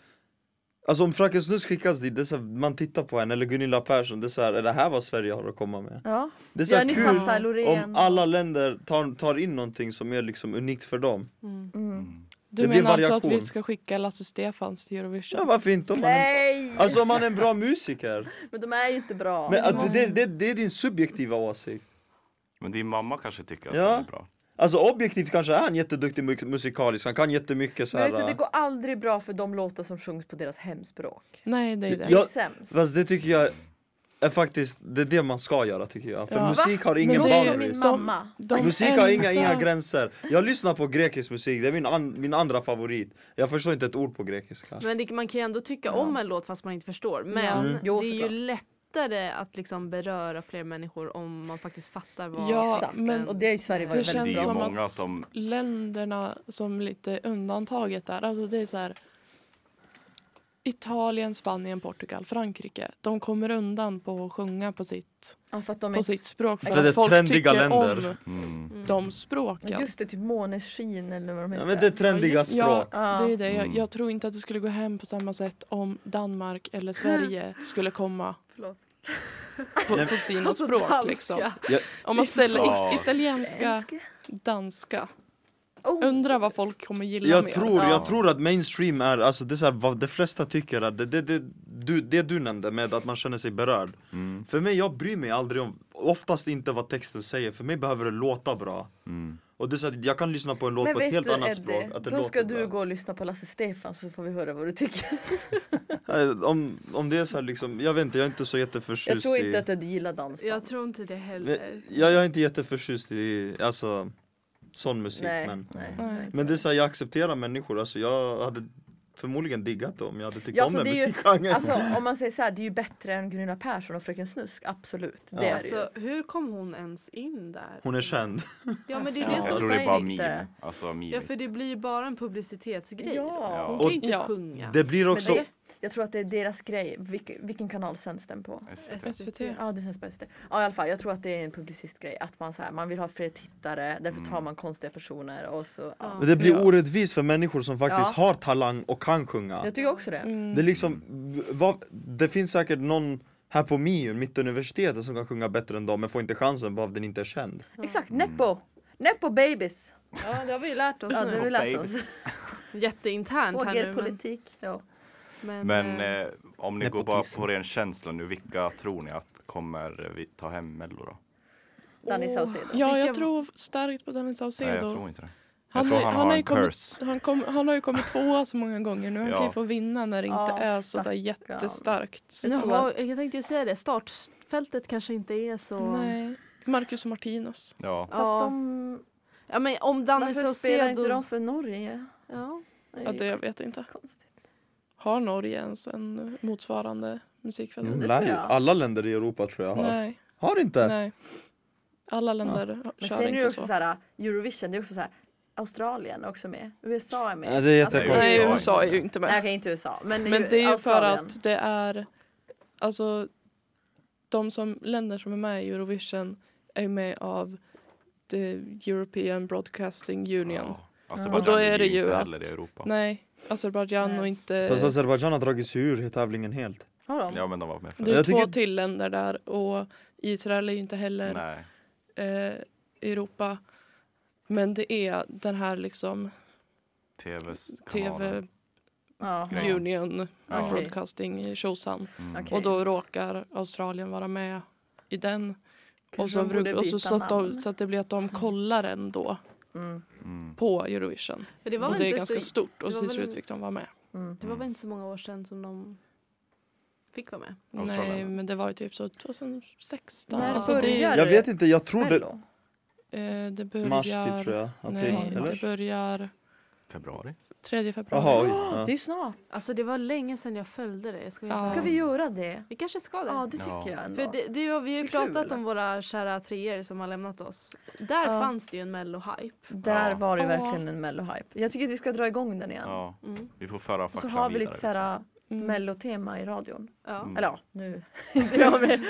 Speaker 6: Alltså om Fröken Snus skickas dit, det är så här, man tittar på henne eller Gunilla Persson, det är så här, är det här vad Sverige har att komma med?
Speaker 3: ja.
Speaker 6: Det är så
Speaker 3: Ja,
Speaker 6: här
Speaker 3: ni
Speaker 6: kul
Speaker 3: sa såhär Loreen.
Speaker 6: om alla länder tar, tar in någonting som är liksom unikt för dem
Speaker 4: Mm.
Speaker 3: Mm.
Speaker 5: Mm.
Speaker 2: Du
Speaker 6: det blir
Speaker 2: menar alltså att vi
Speaker 6: variation.
Speaker 2: ska skicka Lasse Stefans till Eurovision?
Speaker 6: Ja varför inte om man är,
Speaker 3: Nej!
Speaker 6: Alltså om man är en bra musiker
Speaker 3: Men de är ju inte bra.
Speaker 6: Men att, det, det, det är din subjektiva åsikt
Speaker 5: Men din mamma kanske tycker att
Speaker 6: Ja.
Speaker 5: den är bra.
Speaker 6: Alltså objektivt kanske är han jätteduktig mu- musikalisk, han kan jättemycket
Speaker 3: Men vet du,
Speaker 6: såhär
Speaker 3: det går aldrig bra för de låtar som sjungs på deras hemspråk.
Speaker 2: Nej, det är det.
Speaker 3: Det är
Speaker 6: Ja,
Speaker 3: sämst.
Speaker 6: Fast det tycker jag är faktiskt, det är det man ska göra tycker jag. För
Speaker 2: Ja.
Speaker 6: musik har
Speaker 3: Men
Speaker 6: ingen
Speaker 3: låt
Speaker 2: det är ju-
Speaker 3: som min
Speaker 6: boundaries.
Speaker 3: mamma.
Speaker 2: De
Speaker 6: Musik har inga,
Speaker 2: enda-
Speaker 6: inga gränser. Jag lyssnar på grekisk musik, det är min, an, min andra favorit. Jag förstår inte ett ord på grekiska.
Speaker 4: Men det, man kan ju ändå tycka om en låt fast man inte förstår. Men
Speaker 3: Mm. Jo,
Speaker 4: det är ju
Speaker 3: såklart.
Speaker 4: lättare att liksom beröra fler människor om man faktiskt fattar vad
Speaker 2: Ja,
Speaker 3: Exakt.
Speaker 2: men-
Speaker 3: och det är ju Sverige
Speaker 2: Det
Speaker 3: varit
Speaker 5: Men det
Speaker 2: känns
Speaker 5: är ju
Speaker 2: som att-
Speaker 5: många som...
Speaker 2: länderna som lite undantaget där. Alltså det är så här. Italien, Spanien, Portugal, Frankrike. De kommer undan på att sjunga på sitt,
Speaker 3: Ja, för att de är
Speaker 2: på sitt språk
Speaker 6: För
Speaker 2: för
Speaker 6: det är
Speaker 2: att folk
Speaker 6: trendiga
Speaker 2: tycker
Speaker 6: länder.
Speaker 2: om
Speaker 5: Mm.
Speaker 2: de språken.
Speaker 3: Men just det, typ måneskin eller vad de
Speaker 6: Ja,
Speaker 3: heter.
Speaker 6: men det är trendiga
Speaker 2: just- ja.
Speaker 6: språk.
Speaker 3: Ja.
Speaker 2: Det är det. Jag,
Speaker 5: Mm.
Speaker 2: jag tror inte att det skulle gå hem på samma sätt om Danmark eller Sverige skulle komma
Speaker 4: Förlåt.
Speaker 2: på, på sina språk.
Speaker 4: Alltså, danska.
Speaker 2: Liksom.
Speaker 6: Ja.
Speaker 2: Om man ställer
Speaker 5: Ja.
Speaker 2: it- italienska,
Speaker 3: Älskar.
Speaker 2: danska.
Speaker 3: Oh.
Speaker 2: Undrar vad folk kommer gilla
Speaker 6: Jag
Speaker 2: mer.
Speaker 6: tror,
Speaker 5: Ja.
Speaker 6: jag tror att mainstream är, alltså det är så här, vad de flesta tycker är det, det, det, du, det du nämnde med att man känner sig berörd.
Speaker 5: Mm.
Speaker 6: För mig, jag bryr mig aldrig om, oftast inte vad texten säger, för mig behöver det låta bra.
Speaker 5: Mm.
Speaker 6: Och det är så här, jag kan lyssna på en låt
Speaker 3: Men
Speaker 6: på ett
Speaker 3: vet
Speaker 6: helt
Speaker 3: du
Speaker 6: annat
Speaker 3: Eddie,
Speaker 6: språk. Att det
Speaker 3: då ska
Speaker 6: låter
Speaker 3: du
Speaker 6: bra.
Speaker 3: gå och lyssna på Lasse Stefans så får vi höra vad du tycker.
Speaker 6: Eh, Om, om det är så här liksom, jag vet inte, jag är inte så jätteförtjust
Speaker 3: Jag tror inte
Speaker 6: i...
Speaker 3: att Eddie gillar dansband.
Speaker 4: Jag tror inte det
Speaker 6: Men-
Speaker 4: heller.
Speaker 6: jag, jag är inte jätteförtjust i, alltså, sån musik
Speaker 3: nej,
Speaker 6: men
Speaker 3: nej,
Speaker 2: Nej.
Speaker 3: nej.
Speaker 6: Men det är så här, jag accepterar människor, alltså jag hade förmodligen diggat det om jag hade tyckt
Speaker 3: Ja,
Speaker 6: om
Speaker 3: så
Speaker 6: den
Speaker 3: det är ju-
Speaker 6: musikgenren
Speaker 3: Alltså om man säger så här, det är ju bättre än Gunilla Persson och Fröken Snusk, absolut. Det är det ju.
Speaker 4: Alltså, hur kom hon ens in där?
Speaker 6: Hon är känd
Speaker 4: Ja men det är
Speaker 2: Ja.
Speaker 4: det
Speaker 5: Jag
Speaker 4: som
Speaker 5: tror
Speaker 4: säger
Speaker 5: det är bara
Speaker 3: inte.
Speaker 5: meme. Alltså meme.
Speaker 4: Ja för det blir ju bara en publicitetsgrej.
Speaker 3: Ja.
Speaker 4: Hon
Speaker 5: Ja.
Speaker 4: kan ju inte
Speaker 2: Ja.
Speaker 4: sjunga.
Speaker 6: Det blir också,
Speaker 4: det-
Speaker 3: Jag tror att det är deras grej, vilken, vilken kanal sänds den på?
Speaker 5: SVT.
Speaker 2: SVT.
Speaker 3: Ja det känns bäst. Ja i alla fall, jag tror att det är en publicistgrej. Att man, så här, man vill ha fler tittare, därför
Speaker 6: Mm.
Speaker 3: tar man konstiga personer och så. Ja.
Speaker 6: men det blir
Speaker 2: Ja.
Speaker 6: orättvist för människor som faktiskt
Speaker 3: Ja. Mm.
Speaker 6: har talang och kan sjunga
Speaker 3: Jag tycker också
Speaker 2: Mm.
Speaker 3: det.
Speaker 6: Det är liksom, v- vad, det finns säkert någon här på MIUn, Mittuniversitetet, som kan sjunga bättre än dem men får inte chansen bara för att den inte är känd
Speaker 3: Exakt, Nepo! Nepo babies!
Speaker 4: Ja det har vi ju lärt oss
Speaker 3: Ja det har vi
Speaker 4: nu.
Speaker 3: lärt oss.
Speaker 4: Jätteinternt här nu. Men,
Speaker 3: Svågerpolitik. Ja.
Speaker 4: men,
Speaker 5: Men
Speaker 4: eh,
Speaker 5: eh, om ni går bara
Speaker 6: nepotism.
Speaker 5: på ren känsla nu, vilka tror ni att kommer eh, vi ta hem Mello då?
Speaker 3: Danny
Speaker 4: Åh.
Speaker 3: Saucedo.
Speaker 2: Ja, jag
Speaker 4: Vilka-
Speaker 2: tror starkt på Danny Saucedo.
Speaker 5: Nej, jag tror inte det.
Speaker 2: Han
Speaker 5: jag tror
Speaker 2: är-
Speaker 5: han,
Speaker 2: han
Speaker 5: har
Speaker 2: är
Speaker 5: en
Speaker 2: kommit-
Speaker 5: curse.
Speaker 2: Han, kom, han har ju
Speaker 3: *laughs*
Speaker 2: kommit tvåa så många gånger nu. Han kan ju
Speaker 5: Ja.
Speaker 2: få vinna när det inte
Speaker 3: Ja,
Speaker 2: är så där
Speaker 3: stackarn.
Speaker 2: jättestarkt.
Speaker 4: nu
Speaker 3: tror
Speaker 4: har, jag tänkte ju säga det, startfältet kanske inte är så...
Speaker 2: Nej. Marcus och Martinus.
Speaker 5: Ja.
Speaker 3: Fast
Speaker 4: ja.
Speaker 3: de...
Speaker 4: ja men om Danny
Speaker 3: Varför spelar inte
Speaker 4: Saucedo...
Speaker 3: de för Norge?
Speaker 4: Ja.
Speaker 2: Ja, det jag vet inte.
Speaker 3: Konstigt.
Speaker 2: Har Norge ens en motsvarande musikfest?
Speaker 6: Mm,
Speaker 3: det tror
Speaker 6: nej,
Speaker 3: jag.
Speaker 6: alla länder i Europa tror jag har.
Speaker 2: Nej,
Speaker 6: Har inte?
Speaker 2: nej. Alla länder
Speaker 3: Men
Speaker 2: kör
Speaker 3: sen är det
Speaker 2: inte
Speaker 3: också
Speaker 2: så.
Speaker 3: så här, Eurovision, det är också så här, Australien är också med. USA är med. Alltså,
Speaker 6: Ja, det är jättekonstigt.
Speaker 2: Nej,
Speaker 5: USA
Speaker 2: USA
Speaker 5: är
Speaker 2: är ju inte
Speaker 3: Nej
Speaker 2: med.
Speaker 3: okej inte USA men,
Speaker 2: Men det är ju för
Speaker 3: Australien.
Speaker 2: att det är alltså de som, länder som är med i Eurovision är ju med av the European Broadcasting Union.
Speaker 5: Ja.
Speaker 2: Och då
Speaker 5: Azerbajdzjan
Speaker 2: är
Speaker 5: ligger
Speaker 2: det
Speaker 5: ju
Speaker 2: ju
Speaker 5: inte
Speaker 2: att-
Speaker 5: heller i Europa.
Speaker 2: Nej, Azerbajdzjan
Speaker 3: Nej.
Speaker 2: och inte...
Speaker 6: Fast alltså, Azerbajdzjan har dragit sig ur tävlingen helt.
Speaker 3: Har de?
Speaker 5: Ja men de var med för
Speaker 2: Det är
Speaker 6: Jag
Speaker 2: två
Speaker 6: tycker-
Speaker 2: till länder där och Israel är ju inte heller
Speaker 5: Nej.
Speaker 2: eh, Europa. Men det är den här liksom
Speaker 5: TVs kanaler.
Speaker 2: TV
Speaker 3: Ja.
Speaker 5: Ja.
Speaker 2: Union
Speaker 5: Ja.
Speaker 2: Broadcasting tjosan.
Speaker 5: Mm.
Speaker 3: Okej.
Speaker 2: Och då råkar Australien vara med i den. Och
Speaker 3: Kanske
Speaker 2: så,
Speaker 3: de borde
Speaker 2: bruk- och så,
Speaker 3: byta
Speaker 2: så, att de,
Speaker 3: namn.
Speaker 2: så att det blir att de kollar den då
Speaker 3: Mm.
Speaker 5: Mm.
Speaker 2: på Eurovision.
Speaker 4: Men det var
Speaker 2: och det är
Speaker 4: inte
Speaker 2: ganska
Speaker 4: så...
Speaker 2: stort och
Speaker 4: det var
Speaker 2: till
Speaker 4: väl-
Speaker 2: slut fick de vara med.
Speaker 3: Mm.
Speaker 4: Det var väl inte så många år sedan som de fick vara med?
Speaker 5: Australien.
Speaker 2: Nej men det var ju typ så 2016.
Speaker 3: När
Speaker 2: alltså det,
Speaker 3: börjar- Är
Speaker 6: Jag
Speaker 3: det
Speaker 6: vet inte, jag tror det...
Speaker 3: Mello?
Speaker 2: eh, det börjar...
Speaker 6: Mars typ tror jag. April,
Speaker 2: Nej,
Speaker 6: eller?
Speaker 2: det börjar
Speaker 5: Februari?
Speaker 2: 3 februari.
Speaker 6: Jaha, oj.
Speaker 3: Ja, Det
Speaker 6: Ja.
Speaker 3: är snart.
Speaker 4: Alltså det var länge sedan jag följde det. Ska vi,
Speaker 2: Ja.
Speaker 3: Ska vi göra det?
Speaker 4: vi kanske ska det.
Speaker 3: Ja det tycker
Speaker 5: Ja.
Speaker 3: jag ändå.
Speaker 4: För det, det, var- vi har
Speaker 3: Det
Speaker 4: ju
Speaker 3: är kul,
Speaker 4: pratat
Speaker 3: eller?
Speaker 4: om våra kära treor som har lämnat oss. Där
Speaker 3: Ja.
Speaker 4: fanns det ju en mello-hype.
Speaker 3: Där
Speaker 5: Ja.
Speaker 3: var det
Speaker 2: Ja.
Speaker 3: verkligen en mellohype. Jag tycker att vi ska dra igång den igen.
Speaker 5: Ja.
Speaker 4: Mm.
Speaker 5: Vi får föra
Speaker 3: Och så
Speaker 5: facklan
Speaker 3: har vi
Speaker 5: vidare,
Speaker 3: lite såhär
Speaker 2: Mm.
Speaker 3: mellotema i radion.
Speaker 4: Ja.
Speaker 5: Mm.
Speaker 3: Eller ja, nu *laughs* inte jag med.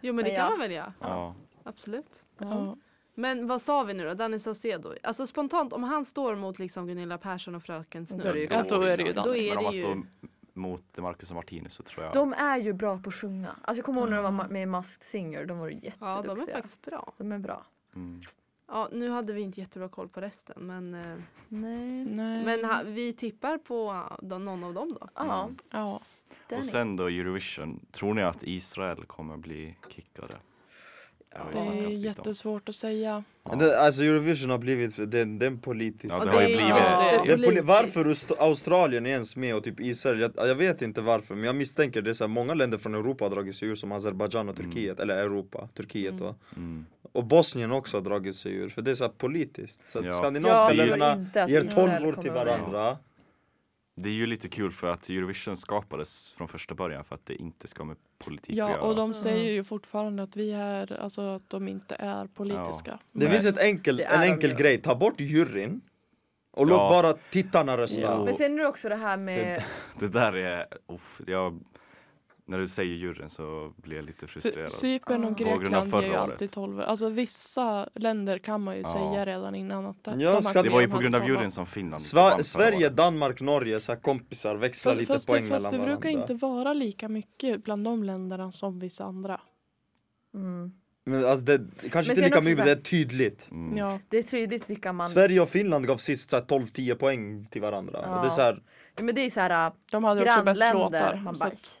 Speaker 4: Jo men det
Speaker 3: Men
Speaker 4: kan
Speaker 3: ja.
Speaker 4: man väl göra?
Speaker 5: Ja.
Speaker 4: Absolut.
Speaker 2: Ja.
Speaker 4: Men vad sa vi nu då? Danny Saucedo. Alltså spontant om han står mot liksom Gunilla Persson och Fröken Snurr.
Speaker 3: Då är det ju
Speaker 2: Ja, då är det ju
Speaker 4: Då
Speaker 2: Danny.
Speaker 4: är
Speaker 5: Men om man
Speaker 4: det ju...
Speaker 5: står mot Marcus och Martinus så tror jag...
Speaker 3: De är ju bra på att sjunga. Alltså jag kommer ihåg när de var ma- med i Masked Singer, de var ju jätteduktiga.
Speaker 4: Ja de är faktiskt bra.
Speaker 3: de är bra.
Speaker 5: Mm.
Speaker 4: Ja nu hade vi inte jättebra koll på resten men, eh,
Speaker 3: Nej.
Speaker 2: Nej.
Speaker 4: men ha, vi tippar på eh, de- någon av dem då.
Speaker 3: Ja,
Speaker 5: Mm.
Speaker 2: ja.
Speaker 3: den
Speaker 5: Och
Speaker 3: är-
Speaker 5: sen då Eurovision. Tror ni att Israel kommer bli kickade? Det har vi
Speaker 2: Det är
Speaker 5: snackats lite om.
Speaker 2: jättesvårt att säga.
Speaker 5: Ja.
Speaker 6: Det, alltså Eurovision har blivit, det, är en- det är en politisk...
Speaker 5: Ja,
Speaker 4: Och
Speaker 5: det har ju blivit-
Speaker 4: ja,
Speaker 2: det är
Speaker 6: Det är poli-
Speaker 4: politiskt.
Speaker 6: varför Aust- Australien är ens med och typ Israel, jag, jag vet inte varför men jag misstänker det är så här, många länder från Europa har dragit sig ur som Azerbajdzjan
Speaker 3: Mm.
Speaker 6: och Turkiet, eller Europa, Turkiet då.
Speaker 5: Mm.
Speaker 6: Och Bosnien också har dragit sig ur, för det är så här politiskt. Så att
Speaker 5: Ja.
Speaker 6: skandinaviska
Speaker 5: Jag tror
Speaker 6: länderna
Speaker 3: inte att
Speaker 6: ger
Speaker 3: Israel
Speaker 6: 12 år till
Speaker 3: kommer vara med.
Speaker 6: varandra.
Speaker 5: Det är ju lite kul för att Eurovision skapades från första början för att det inte ska med politik att
Speaker 2: Ja,
Speaker 5: göra.
Speaker 2: och de säger ju fortfarande att vi är, alltså att de inte är politiska.
Speaker 6: Det
Speaker 5: Nej.
Speaker 6: finns ett enkel,
Speaker 3: Det är
Speaker 6: en
Speaker 3: de
Speaker 6: enkel
Speaker 3: ju.
Speaker 6: grej, ta bort juryn och
Speaker 5: Ja.
Speaker 6: låt bara tittarna rösta.
Speaker 5: Jo.
Speaker 3: Men sen är det också det här med,
Speaker 5: Det där är... Uff, jag, när du säger juryn så blir jag lite
Speaker 2: För
Speaker 5: frustrerad.
Speaker 2: Cypern och
Speaker 3: Ah.
Speaker 5: Vågorna
Speaker 2: Grekland
Speaker 5: förra
Speaker 2: ger ju
Speaker 5: året.
Speaker 2: alltid 12 Alltså vissa länder kan man ju
Speaker 5: Ja.
Speaker 2: säga redan innan att de-
Speaker 6: Ja,
Speaker 2: de
Speaker 6: ska-
Speaker 2: accepterar
Speaker 5: Det var ju på
Speaker 2: att
Speaker 5: grund av
Speaker 2: de
Speaker 5: juryn som Finland inte vann
Speaker 6: Sva-
Speaker 5: förra
Speaker 6: Sverige,
Speaker 5: året.
Speaker 6: Danmark, Norge, så här kompisar, växla
Speaker 2: Fast-
Speaker 6: lite
Speaker 2: fast
Speaker 6: poäng
Speaker 2: det, fast
Speaker 6: mellan
Speaker 2: det brukar
Speaker 6: varandra.
Speaker 2: inte vara lika mycket bland de länderna som vissa andra.
Speaker 3: mm,
Speaker 6: Men alltså det, kanske
Speaker 3: sen
Speaker 6: inte lika
Speaker 3: också
Speaker 6: mycket,
Speaker 3: så
Speaker 6: men
Speaker 3: här-
Speaker 6: det är tydligt.
Speaker 5: Mm.
Speaker 2: Ja.
Speaker 3: det är tydligt vilka man...
Speaker 6: Sverige och Finland gav sist så här 12-10 poäng till varandra.
Speaker 3: Ja.
Speaker 6: Och det är så här,
Speaker 3: Ja, Men det är ju såhär
Speaker 2: De hade också bäst
Speaker 3: grannländer,
Speaker 2: låtar.
Speaker 3: man
Speaker 2: så
Speaker 3: bara...
Speaker 2: att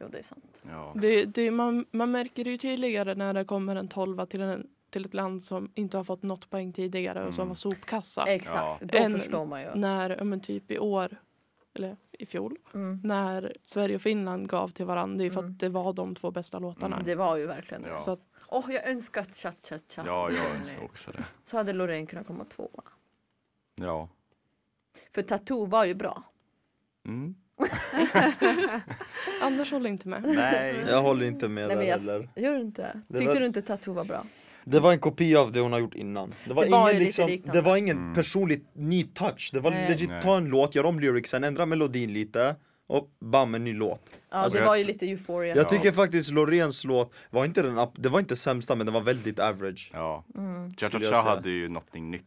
Speaker 3: Jo det är sant.
Speaker 5: Ja.
Speaker 2: Det, det, man, man märker det ju tydligare när det kommer en tolva till, en, till ett land som inte har fått något poäng tidigare och som
Speaker 5: Mm.
Speaker 2: var sopkassa.
Speaker 3: Exakt, då
Speaker 2: En-
Speaker 3: förstår man ju.
Speaker 2: när, ja, men typ i år, eller i fjol,
Speaker 3: Mm.
Speaker 2: när Sverige och Finland gav till varandra. Det är för
Speaker 3: Mm.
Speaker 2: att det var de två bästa låtarna.
Speaker 5: Mm.
Speaker 3: Det var ju verkligen det.
Speaker 5: Ja.
Speaker 2: Så att,
Speaker 3: Åh jag önskar att cha cha cha.
Speaker 5: ja, jag önskar också det.
Speaker 3: Så hade Loreen kunnat komma tvåa.
Speaker 5: Ja.
Speaker 3: För Tattoo var ju bra.
Speaker 5: Mm.
Speaker 2: Anders håller inte med.
Speaker 5: Nej.
Speaker 6: jag håller inte med
Speaker 3: Nej
Speaker 6: där
Speaker 3: men jag
Speaker 6: heller.
Speaker 3: gör du inte?
Speaker 6: Det
Speaker 3: Tyckte
Speaker 6: var-
Speaker 3: du inte Tattoo var bra?
Speaker 6: Det var en kopia av det hon har gjort innan. Det var,
Speaker 3: Det var ju
Speaker 6: ingen,
Speaker 3: lite
Speaker 6: liksom,
Speaker 3: liknande.
Speaker 6: det var ingen
Speaker 5: Mm.
Speaker 6: personlig ny touch. Det var
Speaker 3: Nej.
Speaker 6: legit,
Speaker 5: Nej.
Speaker 6: ta en låt, gör om lyricsen, ändra melodin lite och bam, en ny låt.
Speaker 3: Ja
Speaker 5: Alltså,
Speaker 3: det
Speaker 5: jag-
Speaker 3: var ju lite euphoria.
Speaker 6: Jag tycker faktiskt Loreens låt var inte den, up- det var inte sämsta men den var väldigt average.
Speaker 5: Ja.
Speaker 3: Mm.
Speaker 5: Cha Cha
Speaker 6: Skulle jag
Speaker 5: Cha
Speaker 6: säga.
Speaker 5: hade ju någonting nytt.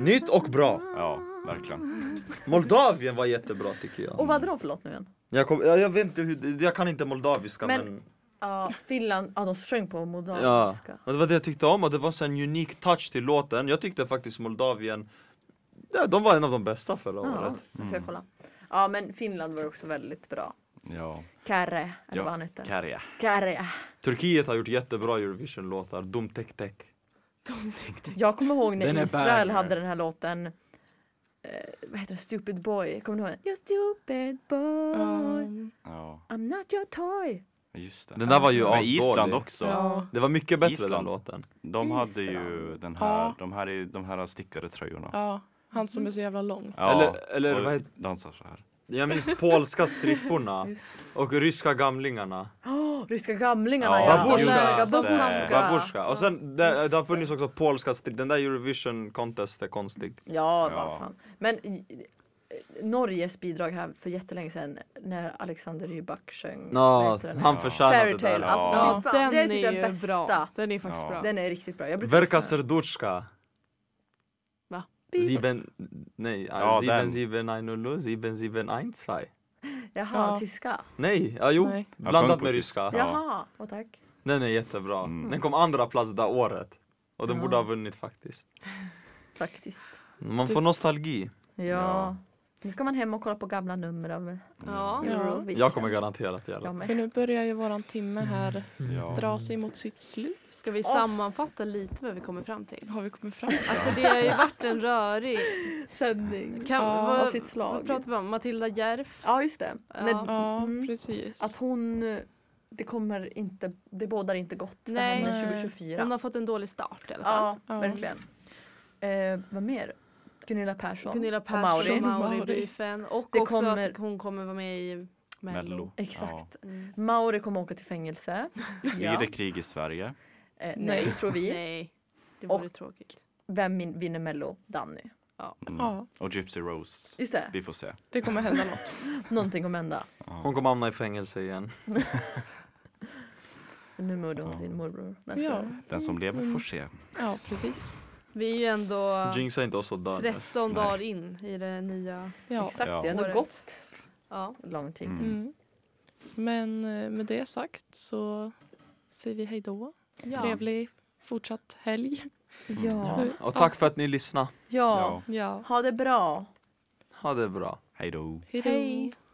Speaker 6: Nytt och bra.
Speaker 5: Ja, verkligen.
Speaker 6: Moldavien var jättebra tycker jag.
Speaker 3: Och vad hade de för låt nu igen?
Speaker 6: Jag, kom, jag, jag vet inte hur, jag kan inte moldaviska men,
Speaker 3: Men- Ja, Finland, ja de sjöng på
Speaker 6: Ja,
Speaker 3: moldaviska.
Speaker 6: och det var det jag tyckte om och det var så en unik touch till låten. Jag tyckte faktiskt Moldavien, ja, de var en av de bästa förra
Speaker 3: Ja,
Speaker 6: året.
Speaker 3: jag
Speaker 5: Mm.
Speaker 3: ska kolla. Ja men Finland var också väldigt bra.
Speaker 5: Ja.
Speaker 3: Kare, eller
Speaker 5: Ja,
Speaker 3: vad han hette.
Speaker 5: Karja.
Speaker 3: Kare.
Speaker 6: Turkiet har gjort jättebra Eurovision-låtar, Dum Tek Tek.
Speaker 3: Jag kommer ihåg
Speaker 6: Den
Speaker 3: när
Speaker 6: är
Speaker 3: Israel
Speaker 6: banger.
Speaker 3: hade den här låten eh, vad heter den? Stupid
Speaker 5: Ah.
Speaker 3: boy. Kommer ni ihåg den? You're stupid boy.
Speaker 2: Um,
Speaker 5: Ja.
Speaker 3: I'm not your toy.
Speaker 5: Just det.
Speaker 6: Den där var ju
Speaker 5: Men
Speaker 6: asdålig.
Speaker 5: Island också.
Speaker 2: Ja.
Speaker 6: Det var mycket bättre
Speaker 5: Island.
Speaker 6: den låten.
Speaker 5: De hade ju
Speaker 3: Island.
Speaker 5: den här,
Speaker 2: Ja.
Speaker 5: de här, är, de här stickade tröjorna.
Speaker 2: Ja, han som är så jävla lång.
Speaker 5: Ja,
Speaker 6: Eller- eller
Speaker 5: och
Speaker 6: vad heter-
Speaker 5: dansar så här.
Speaker 6: Jag minns polska stripporna
Speaker 3: *laughs* Just.
Speaker 6: och ryska gamlingarna.
Speaker 3: Åh, ryska gamlingarna
Speaker 5: Ja,
Speaker 3: ja.
Speaker 5: babusjka.
Speaker 3: Snöga
Speaker 5: Just det.
Speaker 3: babusjka.
Speaker 6: Babushka. Och sen det, det har funnits också polska strip, den där Eurovision contest är konstig.
Speaker 3: Ja,
Speaker 5: Ja.
Speaker 3: vad fan. Men i- i- Norges bidrag här för jättelänge sedan när Alexander Rybak sjöng. vad
Speaker 6: Ja,
Speaker 3: heter den?
Speaker 6: han förtjänade det
Speaker 3: Fairytale,
Speaker 6: där.
Speaker 3: alltså,
Speaker 5: Ja.
Speaker 3: fy fan, det är typ
Speaker 4: ju
Speaker 3: den bästa.
Speaker 4: bra. Den är faktiskt
Speaker 5: Ja.
Speaker 4: bra.
Speaker 3: Den är riktigt bra. Jag brukar
Speaker 6: Verka
Speaker 3: lyssna.
Speaker 6: serduszka.
Speaker 4: Va?
Speaker 6: Sieben, nej,
Speaker 5: Ja,
Speaker 6: sieben,
Speaker 5: den.
Speaker 6: sieben, ein, null, sieben, sieben, ein, zwei.
Speaker 3: Jaha,
Speaker 2: Ja.
Speaker 3: tyska.
Speaker 6: Nej, ja jo,
Speaker 2: Nej.
Speaker 5: Jag
Speaker 6: blandat
Speaker 5: sjöng på
Speaker 6: med
Speaker 5: tyska.
Speaker 6: ryska.
Speaker 5: Ja.
Speaker 3: Jaha, åh tack.
Speaker 6: Den är jättebra.
Speaker 5: Mm.
Speaker 6: Den kom andra plats det året. Och den
Speaker 3: Ja.
Speaker 6: borde ha vunnit faktiskt.
Speaker 3: Faktiskt.
Speaker 6: Man
Speaker 3: Typ-
Speaker 6: får nostalgi.
Speaker 3: Ja.
Speaker 5: Ja.
Speaker 3: Nu ska man hem och kolla på gamla nummer av
Speaker 5: Mm.
Speaker 4: Ja.
Speaker 2: Ja.
Speaker 3: Eurovision.
Speaker 6: Jag kommer garanterat göra
Speaker 3: Jag
Speaker 6: det.
Speaker 2: För
Speaker 3: med.
Speaker 2: nu börjar ju våran timme här
Speaker 5: Ja.
Speaker 2: dra sig mot sitt slut.
Speaker 4: Ska vi sammanfatta lite vad vi kommer fram till?
Speaker 2: Har vi kommit fram?
Speaker 4: Alltså det har ju varit en rörig...
Speaker 3: Sändning.
Speaker 4: Kan,
Speaker 2: Ja,
Speaker 4: vad,
Speaker 3: av sitt slag.
Speaker 4: vad pratar vi om? Matilda Järf?
Speaker 3: Ja, just det.
Speaker 4: Ja.
Speaker 3: När-
Speaker 2: Ja,
Speaker 3: Mm.
Speaker 2: precis.
Speaker 3: Att hon, eh, det kommer inte, det bådar inte gott för
Speaker 4: Nej.
Speaker 3: henne
Speaker 2: Nej.
Speaker 3: 2024.
Speaker 4: Hon har fått en dålig start i alla fall.
Speaker 3: Ja,
Speaker 2: Ja.
Speaker 3: verkligen. Eh, vad mer? Gunilla Persson.
Speaker 4: Gunilla
Speaker 3: och Mauri.
Speaker 4: Persson och Mauri,
Speaker 2: Mauri.
Speaker 4: Biffen. Och
Speaker 3: Det
Speaker 4: också
Speaker 3: kommer-
Speaker 4: att hon kommer vara med i Mello.
Speaker 5: Mello.
Speaker 3: Exakt.
Speaker 4: Mm.
Speaker 3: Mauri kommer åka till
Speaker 4: *laughs*
Speaker 3: fängelse.
Speaker 5: Ja. Blir det krig i Sverige?
Speaker 3: Eh, nej,
Speaker 4: Nej.
Speaker 3: tror vi.
Speaker 4: Nej, det vore
Speaker 3: Och-
Speaker 4: tråkigt.
Speaker 3: Vem min- vinner Mello? Danny.
Speaker 5: Mm.
Speaker 2: Ja,
Speaker 5: Och Gypsy Rose.
Speaker 3: Just det,
Speaker 5: Vi får se.
Speaker 2: det kommer hända något.
Speaker 3: någonting kommer hända.
Speaker 6: Hon kommer hamna i fängelse igen.
Speaker 3: Nu mördar hon
Speaker 5: Ja.
Speaker 3: sin morbror. Nej, jag
Speaker 2: Ja,
Speaker 3: skojar.
Speaker 5: Den som lever får se.
Speaker 2: ja precis.
Speaker 4: Vi är ju ändå
Speaker 6: Jinxa inte oss och dör.
Speaker 4: 13
Speaker 5: Nej.
Speaker 4: dagar in i det nya.
Speaker 2: Ja.
Speaker 3: Exakt,
Speaker 5: Ja.
Speaker 3: det har
Speaker 4: Året.
Speaker 3: ändå gått
Speaker 4: Ja.
Speaker 3: lång tid.
Speaker 5: Mm.
Speaker 2: Mm. Men eh, med det sagt så säger vi hej då.
Speaker 4: ja.
Speaker 2: Trevlig fortsatt helg.
Speaker 3: Ja.
Speaker 6: Och tack för att ni lyssnade.
Speaker 3: ja,
Speaker 5: Ja.
Speaker 2: Ja,
Speaker 3: ha det bra.
Speaker 6: Ha det bra.
Speaker 5: Hej då.
Speaker 2: hej då.
Speaker 4: Hej.